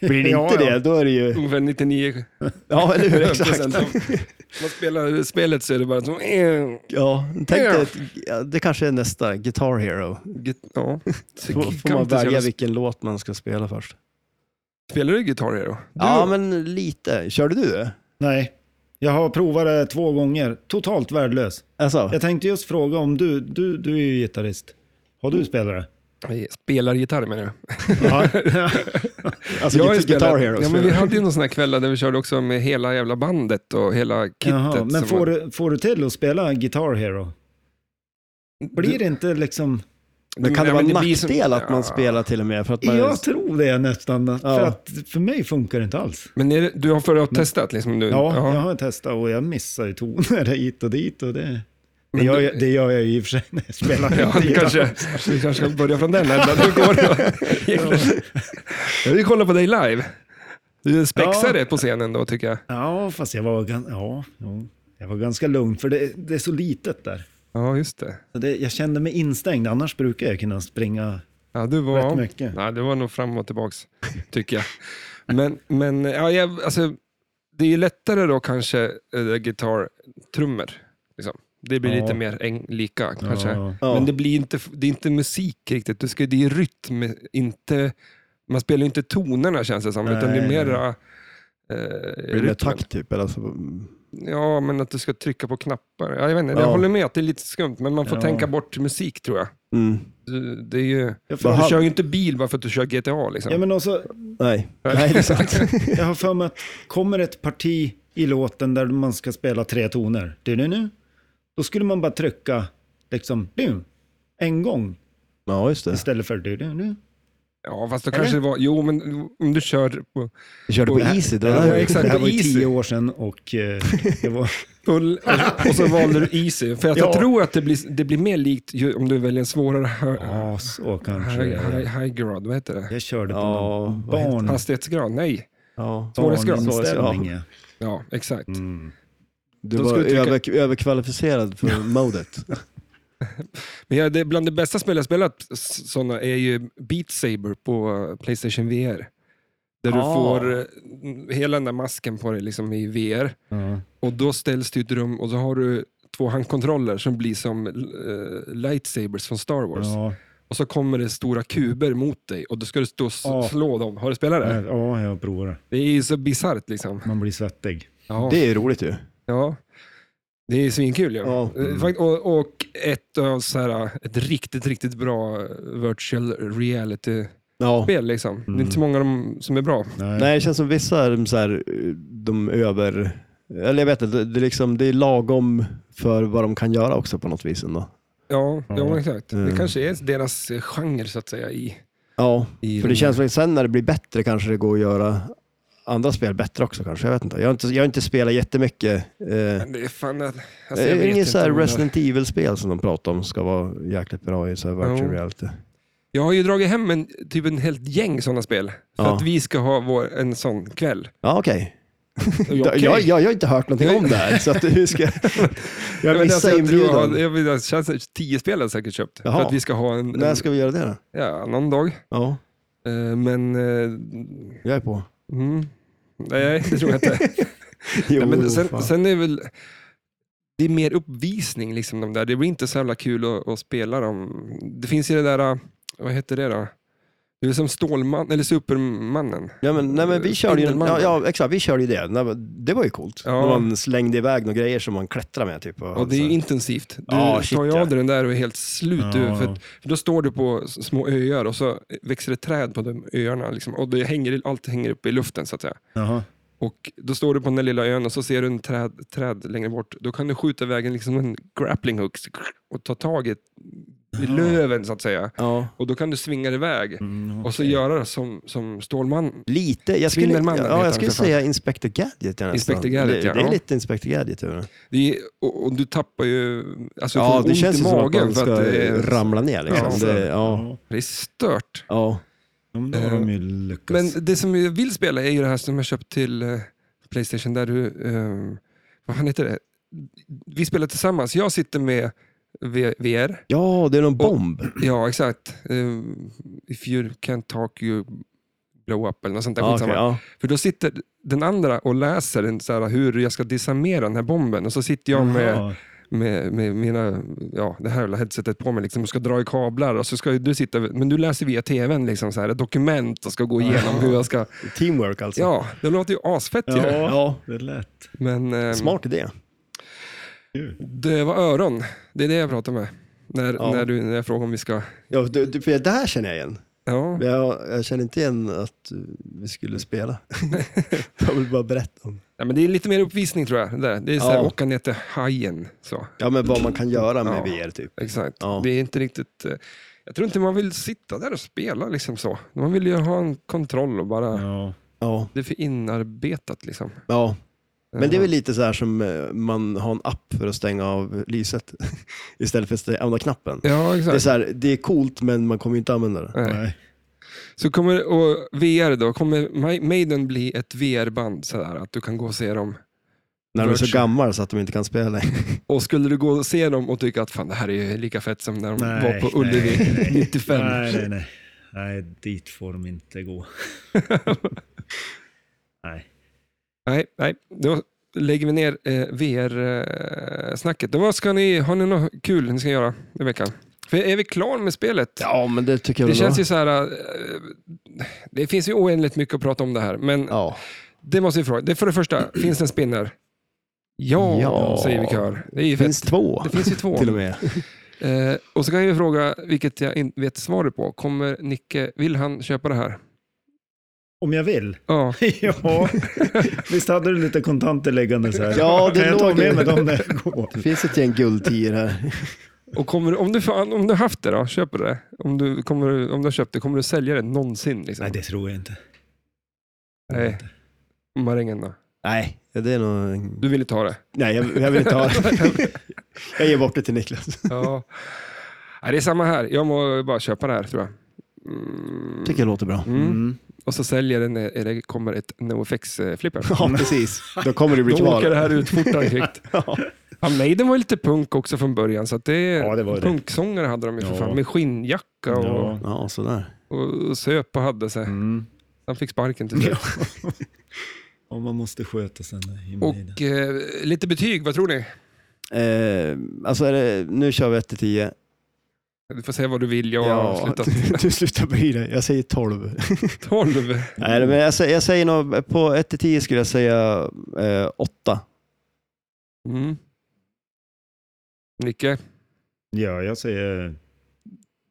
Blir [LAUGHS] det Ja, inte ja. det, då är det ju... Ungefär 99 Ja, [LAUGHS] eller hur? Exakt. procent. Man spelar spelet så är det bara som... eh, Ja, tänk dig, ett, ja, det kanske är nästa, Guitar Hero. git- Ja. Så Då kan får man inte så jävla- välja vilken låt man ska spela först. Spelar du Guitar Hero? Du, Ja, men lite. Körde du det? Nej, jag har provat det två gånger, totalt värdelös. Alltså, Jag tänkte just fråga om du, du, du är ju gitarrist. Har du spelat det? Jag Spelar gitarr menar du? Ja. alltså har ju Guitar spelat- Hero. Ja, men vi spelar- hade ju någon sån här kväll där vi körde också med hela jävla bandet och hela kittet. Jaha, men som får var- du, får du till att spela Guitar Hero? Blir det inte liksom... Men kan det Ja, vara men en blir nackdel som- att man Ja. spelar till och med? För att man, Jag tror det nästan, att- för, Ja. att, för mig funkar det inte alls. Men är det, du har förut testat liksom nu? Ja, jag har testat och jag missar ju toner hit och dit. Och det, det, Men gör du- jag, det gör jag ju i och för sig när jag spelar. [LAUGHS] [LAUGHS] Ja, vi gitarr. kanske, vi kanske kan börja från den änden. Hur går det? [LAUGHS] Jag vill kolla på dig live. Du spexar Ja. det på scenen då tycker jag. Ja, fast jag var, gan- ja, jo, jag var ganska lugn, för det, det är så litet där. Ja, just det. Så det. Jag kände mig instängd, annars brukar jag kunna springa Ja, du var, Rätt mycket. Ja, det var nog fram och tillbaks, tycker jag. Men, men ja, jag, alltså, det är ju lättare då kanske äh, gitarrtrummor. Liksom. Det blir Ja. lite mer äng, lika kanske. Ja. Ja. Men det blir inte, det är inte musik riktigt. Du ska, det är rytm, inte, man spelar ju inte tonerna känns det som, utan det är Nej. mera eh, Blir rytmen. det takt typ? Eller alltså, mm. Ja, men att du ska trycka på knappar. Ja, jag, vet inte, jag Ja. håller med att det är lite skumt, men man får Ja. tänka bort musik tror jag. Mm. Du- Det är ju, Jag, du får, kör ju inte bil bara för att du kör GTA. Liksom. ja, men också, Nej. Nej, det [LAUGHS] är sant. jag har för mig att kommer ett parti i låten där man ska spela tre toner, du, du, nu, då skulle man bara trycka liksom, du, en gång ja, just det. istället för du, du, nu. Ja, fast då kanske det var... Jo, men om du kör på... Vi körde på Och- Easy då. Ja, det, var, exakt, det här på var ju Easy. tio år sedan och eh, det var... på och så valde du Easy. För att jag [LAUGHS] Ja. tror att det blir, det blir mer likt ju om du väljer en svårare hö- Ja, så kanske. high, high, det- high grad. Vad heter det? Jag körde på Ja, någon vad heter barn, Hastighetsgrad? Nej. Ja. Svårighetsgrad. barninställning. ja. Ja, exakt. Mm. Du Då var ska du trycka- över, överkvalificerad [LAUGHS] för modet. Men ja, det, bland det bästa spel jag spelat s- såna är ju Beat Saber på eh, Playstation VR. Där du Ah. får eh, hela den där masken på dig liksom i VR. Ja. Och då ställs du i ett rum och så har du två handkontroller som blir som eh, lightsabers från Star Wars. Ja, Och så kommer det stora kuber mot dig och då ska du stå och s- Ja. slå dem. Har du spelat det? ja, jag provar. Det är ju så bisarrt liksom. Man blir svettig. Ja. Det är ju roligt ju. Ja. Det är svinkul ju. Ja. Mm. Eh, fakt- Och, och ett, av så här, ett riktigt, riktigt bra virtual reality-spel. Ja. Liksom. Mm. Det är inte så många av dem som är bra. Nej. Nej, det känns som vissa är så här, de över... Eller jag vet inte, det är, liksom, det är lagom för vad de kan göra också på något vis ändå. Ja, ja. Ja. exakt. Det Mm. kanske är deras eh, genre så att säga. I, Ja, i för de- det känns som sen när det blir bättre kanske det går att göra andra spel bättre också kanske. Jag vet inte. Jag har inte, jag har inte spelat jättemycket. Eh, Men Det är fan... Alltså, jag vet eh, Inget inte så här om jag- Resident Evil-spel som de pratar om ska vara jäkligt bra i så här virtual Jo. reality. Jag har ju dragit hem en, typ en helt gäng sådana spel. För Ja. att vi ska ha vår, en sån kväll. [LAUGHS] Ja, okej. Ja, okej. Jag, jag, jag har inte hört någonting om det här, så att [LAUGHS] hur ska... Jag men alltså, missade jag tror jag har- inbjudan. jag vill- jag känns som tio spel har jag säkert köpt. Jaha. För att vi ska ha en, När ska vi göra det då? ja, någon dag. Ja, Eh, Men... eh, jag är på. Mm, nej, det tror jag [LAUGHS] inte. Jo, ja, men Oh, fan. sen, sen är väl... Det är mer uppvisning, liksom, de där. det blir inte så jävla kul att, att spela dem. Det finns ju det där, eh, vad heter det då? Det är som Stålman, eller Supermannen. Ja, men, nej, men vi körde ju, Spindelmannen. ja, ja, exakt, vi körde ju det. Nej, men Det var ju coolt. Ja. När man slängde iväg några grejer som man klättrade med. Typ, Och det är ju intensivt. Du Ja, shit, tar ju ja. av dig den där och är helt slut. Ja, du, för, ja. att- för då står du på s- små öar och så växer det träd på de öarna. Liksom, och det hänger, allt hänger uppe i luften så att säga. Jaha. Och då står du på den där lilla ön och så ser du en träd, träd längre bort. Då kan du skjuta iväg en, liksom en grappling hook och ta tag i, i löven så att säga. ja. Och då kan du svinga dig iväg Mm, och så göra som, som Stålman. Lite, jag skulle, Spindelmannen heter ja, han jag skulle för fan. säga Inspector Gadget. Jag nästan. Inspector Gadget, det, ja. det är lite Inspector Gadget över det. Det är, och, och du tappar ju... Alltså, Ja, får det ont känns i ju som att magen man för ska att det är, ramla ner. Liksom. Ja. Ja, det, ja. Ja, det är stört. Ja. men då har de ju lyckats. Men det som jag vill spela är ju det här som jag köpt till eh, Playstation, där du... ehm, vad fan heter det? Vi spelar tillsammans. Jag sitter med V- VR. ja, det är någon bomb. Ja, exakt. Ehm, if you can't talk you blow up eller något sånt där. Ja, skitsamma. okej, ja. För då sitter den andra och läser en, så här, hur jag ska disarmera den här bomben och så sitter jag med, Jaha. med, med mina, ja, det här jävla headsetet på mig liksom, och ska dra i kablar. Och så ska ju du sitta, men du läser via tvn liksom, så här, ett dokument och ska gå igenom hur jag ska... Teamwork alltså. Ja, det låter ju asfett ju. Ja, det lät. Men ehm, Smart idé. döva öron, det är det jag pratar med. När, Ja. när, du, när jag frågar om vi ska... Ja, det, det, för det här känner jag igen. Ja, Men Jag, jag känner inte igen att eh, vi skulle spela. jag vill bara berätta om ja, men det är lite mer uppvisning tror jag. Det, där. det är så här, Ja. åka ner till hajen. Så. Ja, men vad man kan göra med Ja. VR typ. Exakt. Ja. Det är inte riktigt... eh, Jag tror inte man vill sitta där och spela liksom så. Man vill ju ha en kontroll och bara... Ja. Ja, Det är för inarbetat liksom. ja. Men det är väl lite så här som eh, man har en app för att stänga av lyset [LAUGHS] istället för att stänga- använda knappen. Ja, Det är, exakt. så här, det är coolt men man kommer ju inte använda det. Nej. Nej. Så kommer och VR då, kommer Ma- Maiden bli ett VR-band sådär att du kan gå och se dem? När de är så Virtual. gamla så att de inte kan spela längre. Och skulle du gå och se dem och tycka att fan det här är ju lika fett som när de Nej, var på nej, Ullevi [LAUGHS] nej. 95? Nej, nej, nej. Nej, dit får de inte gå. Nej. Nej, nej. Då lägger vi ner eh, VR-snacket. Då vad ska ni, har ni något kul ni ska göra i veckan? För är vi klara med spelet? Ja, men det tycker jag Det väl känns då. ju så här... eh, Det finns ju oändligt mycket att prata om det här, men Ja. det måste vi fråga. Det är för det första, finns det en spinner? Ja, Ja. säger vi kör. Det är ju Det finns fett. två Det finns ju två. [LAUGHS] till och med. Eh, och så kan jag ju fråga, vilket jag inte vet svaret på. Kommer Nicke, vill han köpa det här? Om jag vill? [LAUGHS] Ja. ja. Visst hade du lite kontanter liggande så här? Ja, det kan jag ta låg med ju. mig dem när jag går? Det finns ett gäng guldtior här. Och kommer, om, du, fan- om du har haft det då, köper du det? Om du, kommer, du- om du har köpt det, kommer du sälja det någonsin? Liksom? Nej, det tror jag inte. Nej. Marängen då? Nej, det är nog... Du ville ta [LAUGHS] det? Nej, jag, jag vill inte [LAUGHS] ha det. jag ger bort det till Niklas. Ja. Nej, det är samma här. Jag må bara köpa det här tror jag. Mm. tycker jag låter bra. Mm. Och så säljer den när det kommer ett NoFX-flipper. Ja, precis. Mm. Då kommer det bli Då åker det kvar. här ut fortare [LAUGHS] kvickt. Ja. Ja, Maiden var ju lite punk också från början, så att det, Ja, det var ju det. punksångare hade de ju för Ja. fan, med skinnjacka och, Ja. Ja, sådär. och söp och hade sig. Mm. Han fick sparken till slut. Och man måste sköta sig i Maiden. Och eh, lite betyg, vad tror ni? Eh, alltså är det, nu kör vi 1 till 10. Du får säga vad du vill, jag har slutat. [LAUGHS] [LAUGHS] du slutar bry dig. Jag säger 12. 12. Nej, men jag, säger- jag säger nog, på 1 till 10 skulle jag säga eh, 8. Mm. Nicke? Ja, jag säger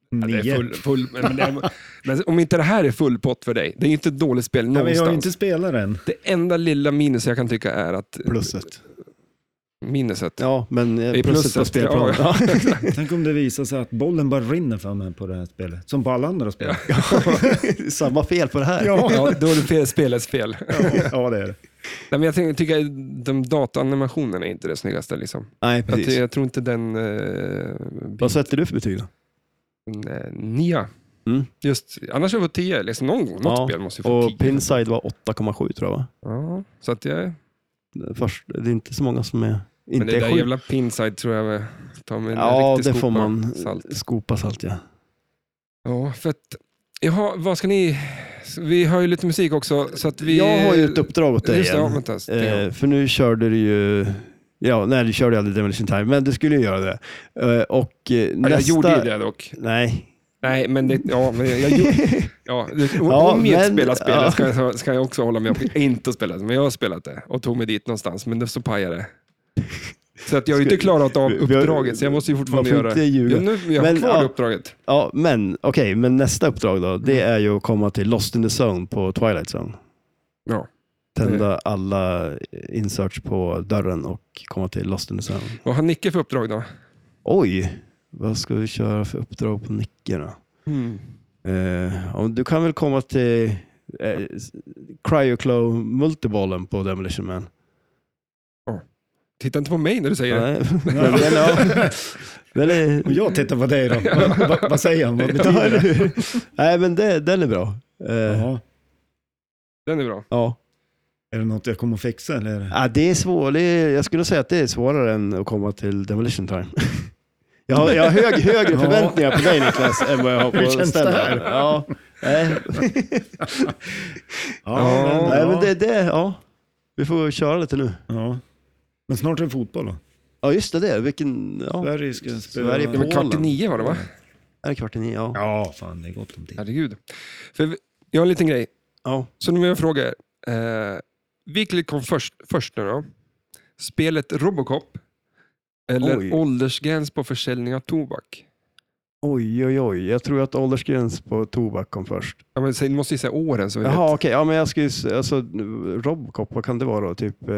Ja, nio. det är full, full, men, det är, men om inte det här är full pott för dig, det är ju inte ett dåligt spel Nej, men jag någonstans. har ju inte spelat den. Det enda lilla minus jag kan tycka är att Plusset. minuset. Ja, men I eh, plusset på plusset, spelplanen. ja. Ja. Tänk om det visar sig att bollen bara rinner för mig på det här spelet, som på alla andra spel. Samma fel på det [LAUGHS] här. Ja, då är det fel, spelets fel. [LAUGHS] ja det är det. Nej, men jag tänker- tycker att de dataanimationerna är inte det snyggaste. Liksom. Nej, Jag, ty- precis. jag tror inte den... Eh, Vad sätter du för betyg då? biten, eh, nia. Mm. Just, annars har jag fått 10. Liksom, någon gång, något spel måste ju få och 10. Pinside var 8,7 tror jag va? Ja, så att jag, Först, det är inte så många som är... men Inte det är där sju. jävla pinside tror jag med, tar med en Ja, riktig det får skopa man. Salt. Skopa salt ja. Ja, för att... Jaha, vad ska ni... Vi har ju lite musik också, så att vi... Jag har ju ett uppdrag åt dig Just det, ja, igen. vänta. Eh, för nu körde du ju... Ja, nej, du körde ju aldrig Demolition Time, men du skulle ju göra det. Eh, och eh, Ja, nästa... jag gjorde ju det dock. Nej. Nej, men det, ja, men jag, jag, [LAUGHS] ja, det, Ja, om jag men- spelar spelet ja. ska, jag, ska jag också hålla med om att jag inte spelat det, men jag har spelat det och tog mig dit någonstans, men det så pajade det. Så att jag har ju inte klarat av Vi- vi har- uppdraget, så jag måste ju fortfarande Man får göra inte det. ljuga. Ja, nu, jag har Men, kvar ja. uppdraget. Ja, men okej, men nästa uppdrag då, det Mm. är ju att komma till Lost in the Zone på Twilight Zone. Ja. Tända Mm. alla eh, inserts på dörren och komma till Lost in the Zone. Vad har Nicke för uppdrag då? Oj, vad ska vi köra för uppdrag på Nicke då? Eh, ja, du kan väl komma till eh, Cryoclow multibollen på Demolition Man? Titta inte på mig när du säger det. [LAUGHS] Nej, [LAUGHS] men den, ja, den är... Och jag tittar på dig då. Vad- vad- vad säger han? Vad [LAUGHS] Ja, betyder eller det? hur? Nej, men det, den är bra. Eh, Jaha. Den är bra. ja. Är det något jag kommer att fixa eller? är det- Ja, det är svår, det är, jag skulle säga att det är svårare än att komma till Demolition Time. [LAUGHS] Jag har, jag har hög, högre Ja. förväntningar på dig Niklas än vad jag har på Hur känns det Stellan. här? Ja, nej, Ja. nej, men det, det, ja. Vi får köra lite nu. ja. Men snart är det fotboll då. Ja, just det. det. Vilken, ja. Sverige ska spela. Sverige Det var kvart i Polen. nio var det va? Är det kvart i nio? Ja. Ja, fan det är gott om tid. Herregud. För vi- jag har en liten grej. ja. Så nu vill jag fråga er. Eh, vilket kom först, först nu då? Spelet Robocop eller Oj. åldersgräns på försäljning av tobak? Oj, oj, oj. Jag tror att åldersgräns på tobak kom först. Ja, men, säg- ni måste ju säga åren så vi Jaha, vet. okej. Ja, men jag skulle, s- alltså, Robocop, vad kan det vara då? Typ, eh,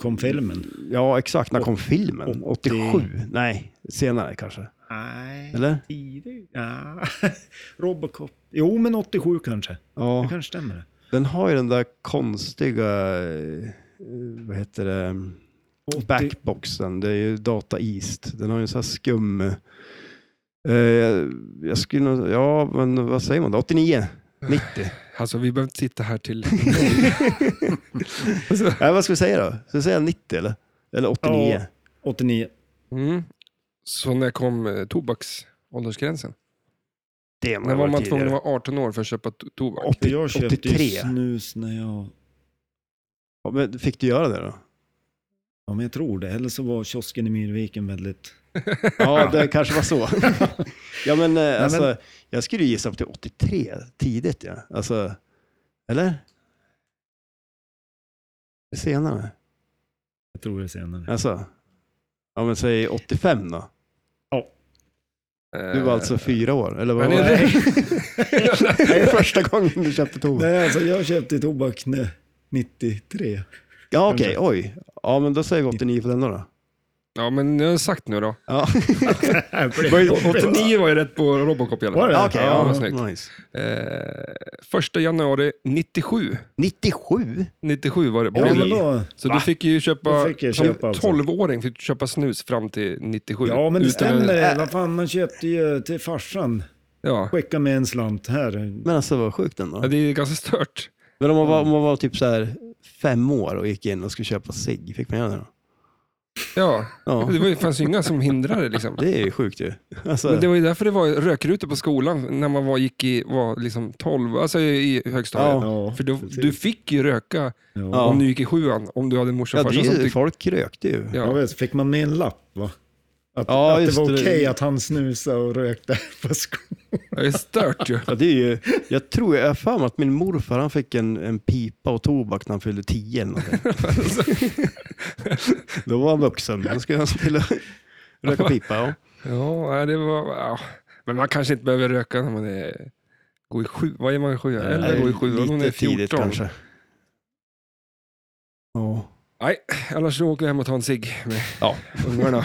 Kom filmen? ja, exakt. När kom filmen? 80. 87? Nej, senare kanske. Nej. Eller? Tidigare? Ja. [LAUGHS] Robocop. Jo, men 87 kanske. Ja. Det kanske stämmer. det. Den har ju den där konstiga, eh, vad heter det, 80 backboxen. Det är ju Data East. Den har ju en sån här skum... Eh, jag, jag skulle nog, ja men vad säger man då? 89? 90? [LAUGHS] Alltså vi behöver inte sitta här [LAUGHS] till... Nej, vad ska vi säga då? Ska vi säga 90 eller? Eller 89? Ja. 89. Mm. Så när kom eh, tobaksåldersgränsen? Det När var varit man tvungen tidigare. att vara 18 år för att köpa to- tobak? Åt- Jag köpte 83. ju snus när jag... Ja, men fick du göra det [LAUGHS] då? Ja, men jag tror det. Eller så var kiosken i Myrviken väldigt... Ja, det kanske var [LAUGHS] så. ja, men, eh, alltså, men- jag skulle gissa på till 83 tidigt. Ja. Alltså, eller? Senare? Jag tror det senare. Alltså, ja, men säg 85 då. Du var alltså fyra år, eller vad Eh, Men var är det? [LAUGHS] [LAUGHS] Det är första gången du köpte tobak. Nej, alltså jag köpte tobak när 93. Ja, okej, oj. Ja, men då säger vi 89 på den då. då. Ja, men jag har sagt nu då. Ja. Det Var var ju- jobbigt. 89 var ju rätt på Robocop i alla fall. Var det? Ja, Okej, Ja, ja, vad snyggt. nice. Eh, första januari 97. 97? 97 var det. på Ja, men bild. då, så du fick ju köpa, Då fick jag som köpa alltså. 12-åring fick du köpa snus fram till 97. ja men det Utan- stämmer. Vad fan, man köpte ju till farsan. Ja. Skicka med en slant här. Men alltså vad sjukt ändå. ja, det är ganska stört. Men om man var, om man var typ så här fem år och gick in och skulle köpa sig fick man göra det då? Ja, Ja. det var, ju- fanns ju inga som hindrade liksom. Det är ju sjukt ju. Alltså, Men det var ju därför det var rökrutor på skolan när man var, gick i, var liksom 12, alltså i i högstadiet. Ja, För du, precis. du fick ju röka ja. Ja. om du gick i sjuan, om du hade en morsa ja, och det farsa som är ju, tyckte... folk rökte ju. Ja, Ja. visst. Fick man med en lapp va? Att, Ja, att det just var det. okej att han snusade och rökte [LAUGHS] på skolan. Det är stört ju. Ja, det är ju, jag tror, jag har för mig att min morfar han fick en, en pipa och tobak när han fyllde tio eller någonting. Då var han vuxen, då skulle han spela, röka pipa. Ja. [LAUGHS] Ja, nej, det var... Ja. Men man kanske inte behöver röka när man är... Går i sju, vad är man i sjuan? Eller går i sjuan om man är Lite 14. tidigt kanske. Ja. Nej, annars så åker jag hem och tar en cigg med Ja. ungarna.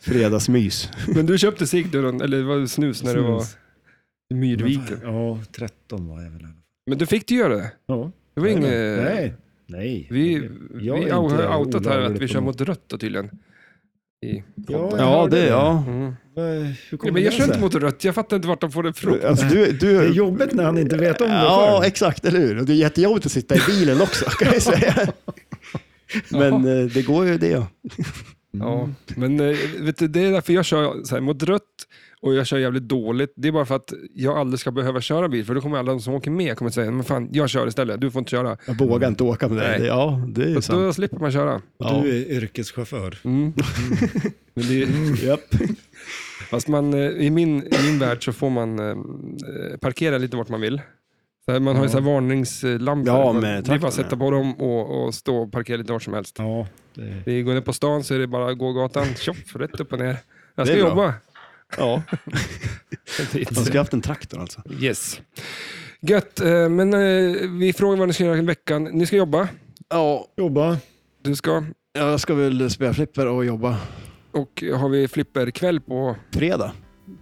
Fredagsmys. Men du köpte cigg, då, eller var det snus när du var i Myrviken? Ja, 13 var jag väl. i alla fall. Men du fick du göra det. Ja. Det var inget... Nej. Nej. Vi, vi Jag är inte har outat här att olaglig vi på kör något. mot rött då, tydligen. I Ja, podden. jag Ja, hörde det, ja. Mm. Va- Hur kommer Ja, men jag det kör inte sig? mot rött, jag fattar inte vart de får det ifrån. Alltså, du, Det är du, jobbigt när han inte vet om det ja, själv. exakt, eller hur? Och Det är jättejobbigt att sitta i bilen också, kan jag säga. [LAUGHS] Men eh, det går ju det. ja. Mm. Ja, men eh, vet du, det är därför jag kör så här, mot rött och jag kör jävligt dåligt. Det är bara för att jag aldrig ska behöva köra bil, för då kommer alla de som åker med kommer säga, men fan, jag kör istället, du får inte köra. Jag vågar inte åka med det. Nej. Ja, det är ju Så sant. då slipper man köra. Ja. Du är yrkeschaufför. Mm. Men det, Japp. fast man, eh, i, min, i min värld så får man eh, parkera lite vart man vill. Så här, man har ju så här varningslampor. Ja, Man- det med är bara traktorn, att sätta på dem och, och stå och parkera lite vart som helst. Ja, det... Det går ner på stan så är det bara gågatan, tjoff, rätt upp och ner. Jag Det ska är bra. jobba. [LAUGHS] Ja, man ska haft en traktor alltså. Yes. Gött, eh, men eh, vi frågar vad ni ska göra i veckan. Ni ska jobba, Ja, Jobba. du ska, jag ska väl spela flipper och jobba. och har vi flipperkväll på Fredag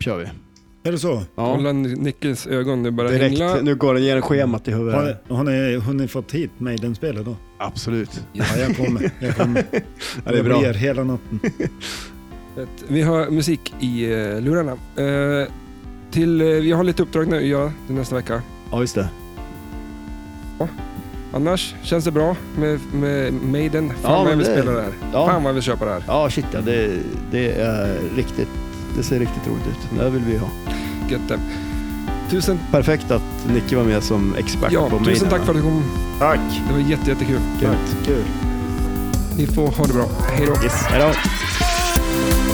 kör vi. Är det så? kolla Nickels ögon nu börjar direkt. ängla. Nu går den igenom schemat i Har huvudet. ni, har ni hunnit fått hit Maiden-spelet då? Absolut. Ja, jag kommer. Jag kommer. Ja, det är bra. Jag ber hela natten. Ett- Vi har musik i eh, lurarna. Eh, till, eh, vi har lite uppdrag nu att göra till nästa vecka. Ja, just det. Annars känns det bra med, med Maiden. Fan Ja, vad jag men vill det- spela det här. ja. Fan vad jag vill köpa det här. Ja, shit ja. Det, det är riktigt. Det ser riktigt roligt ut. Det här vill vi ha. Gött det. Tusen, Perfekt att Nicke var med som expert ja, på mig. tusen tack för att du kom. Tack. Det var jätte, jättekul. Grymt. Kul. Ni får ha det bra. Hej då. Yes. Hej då. Thank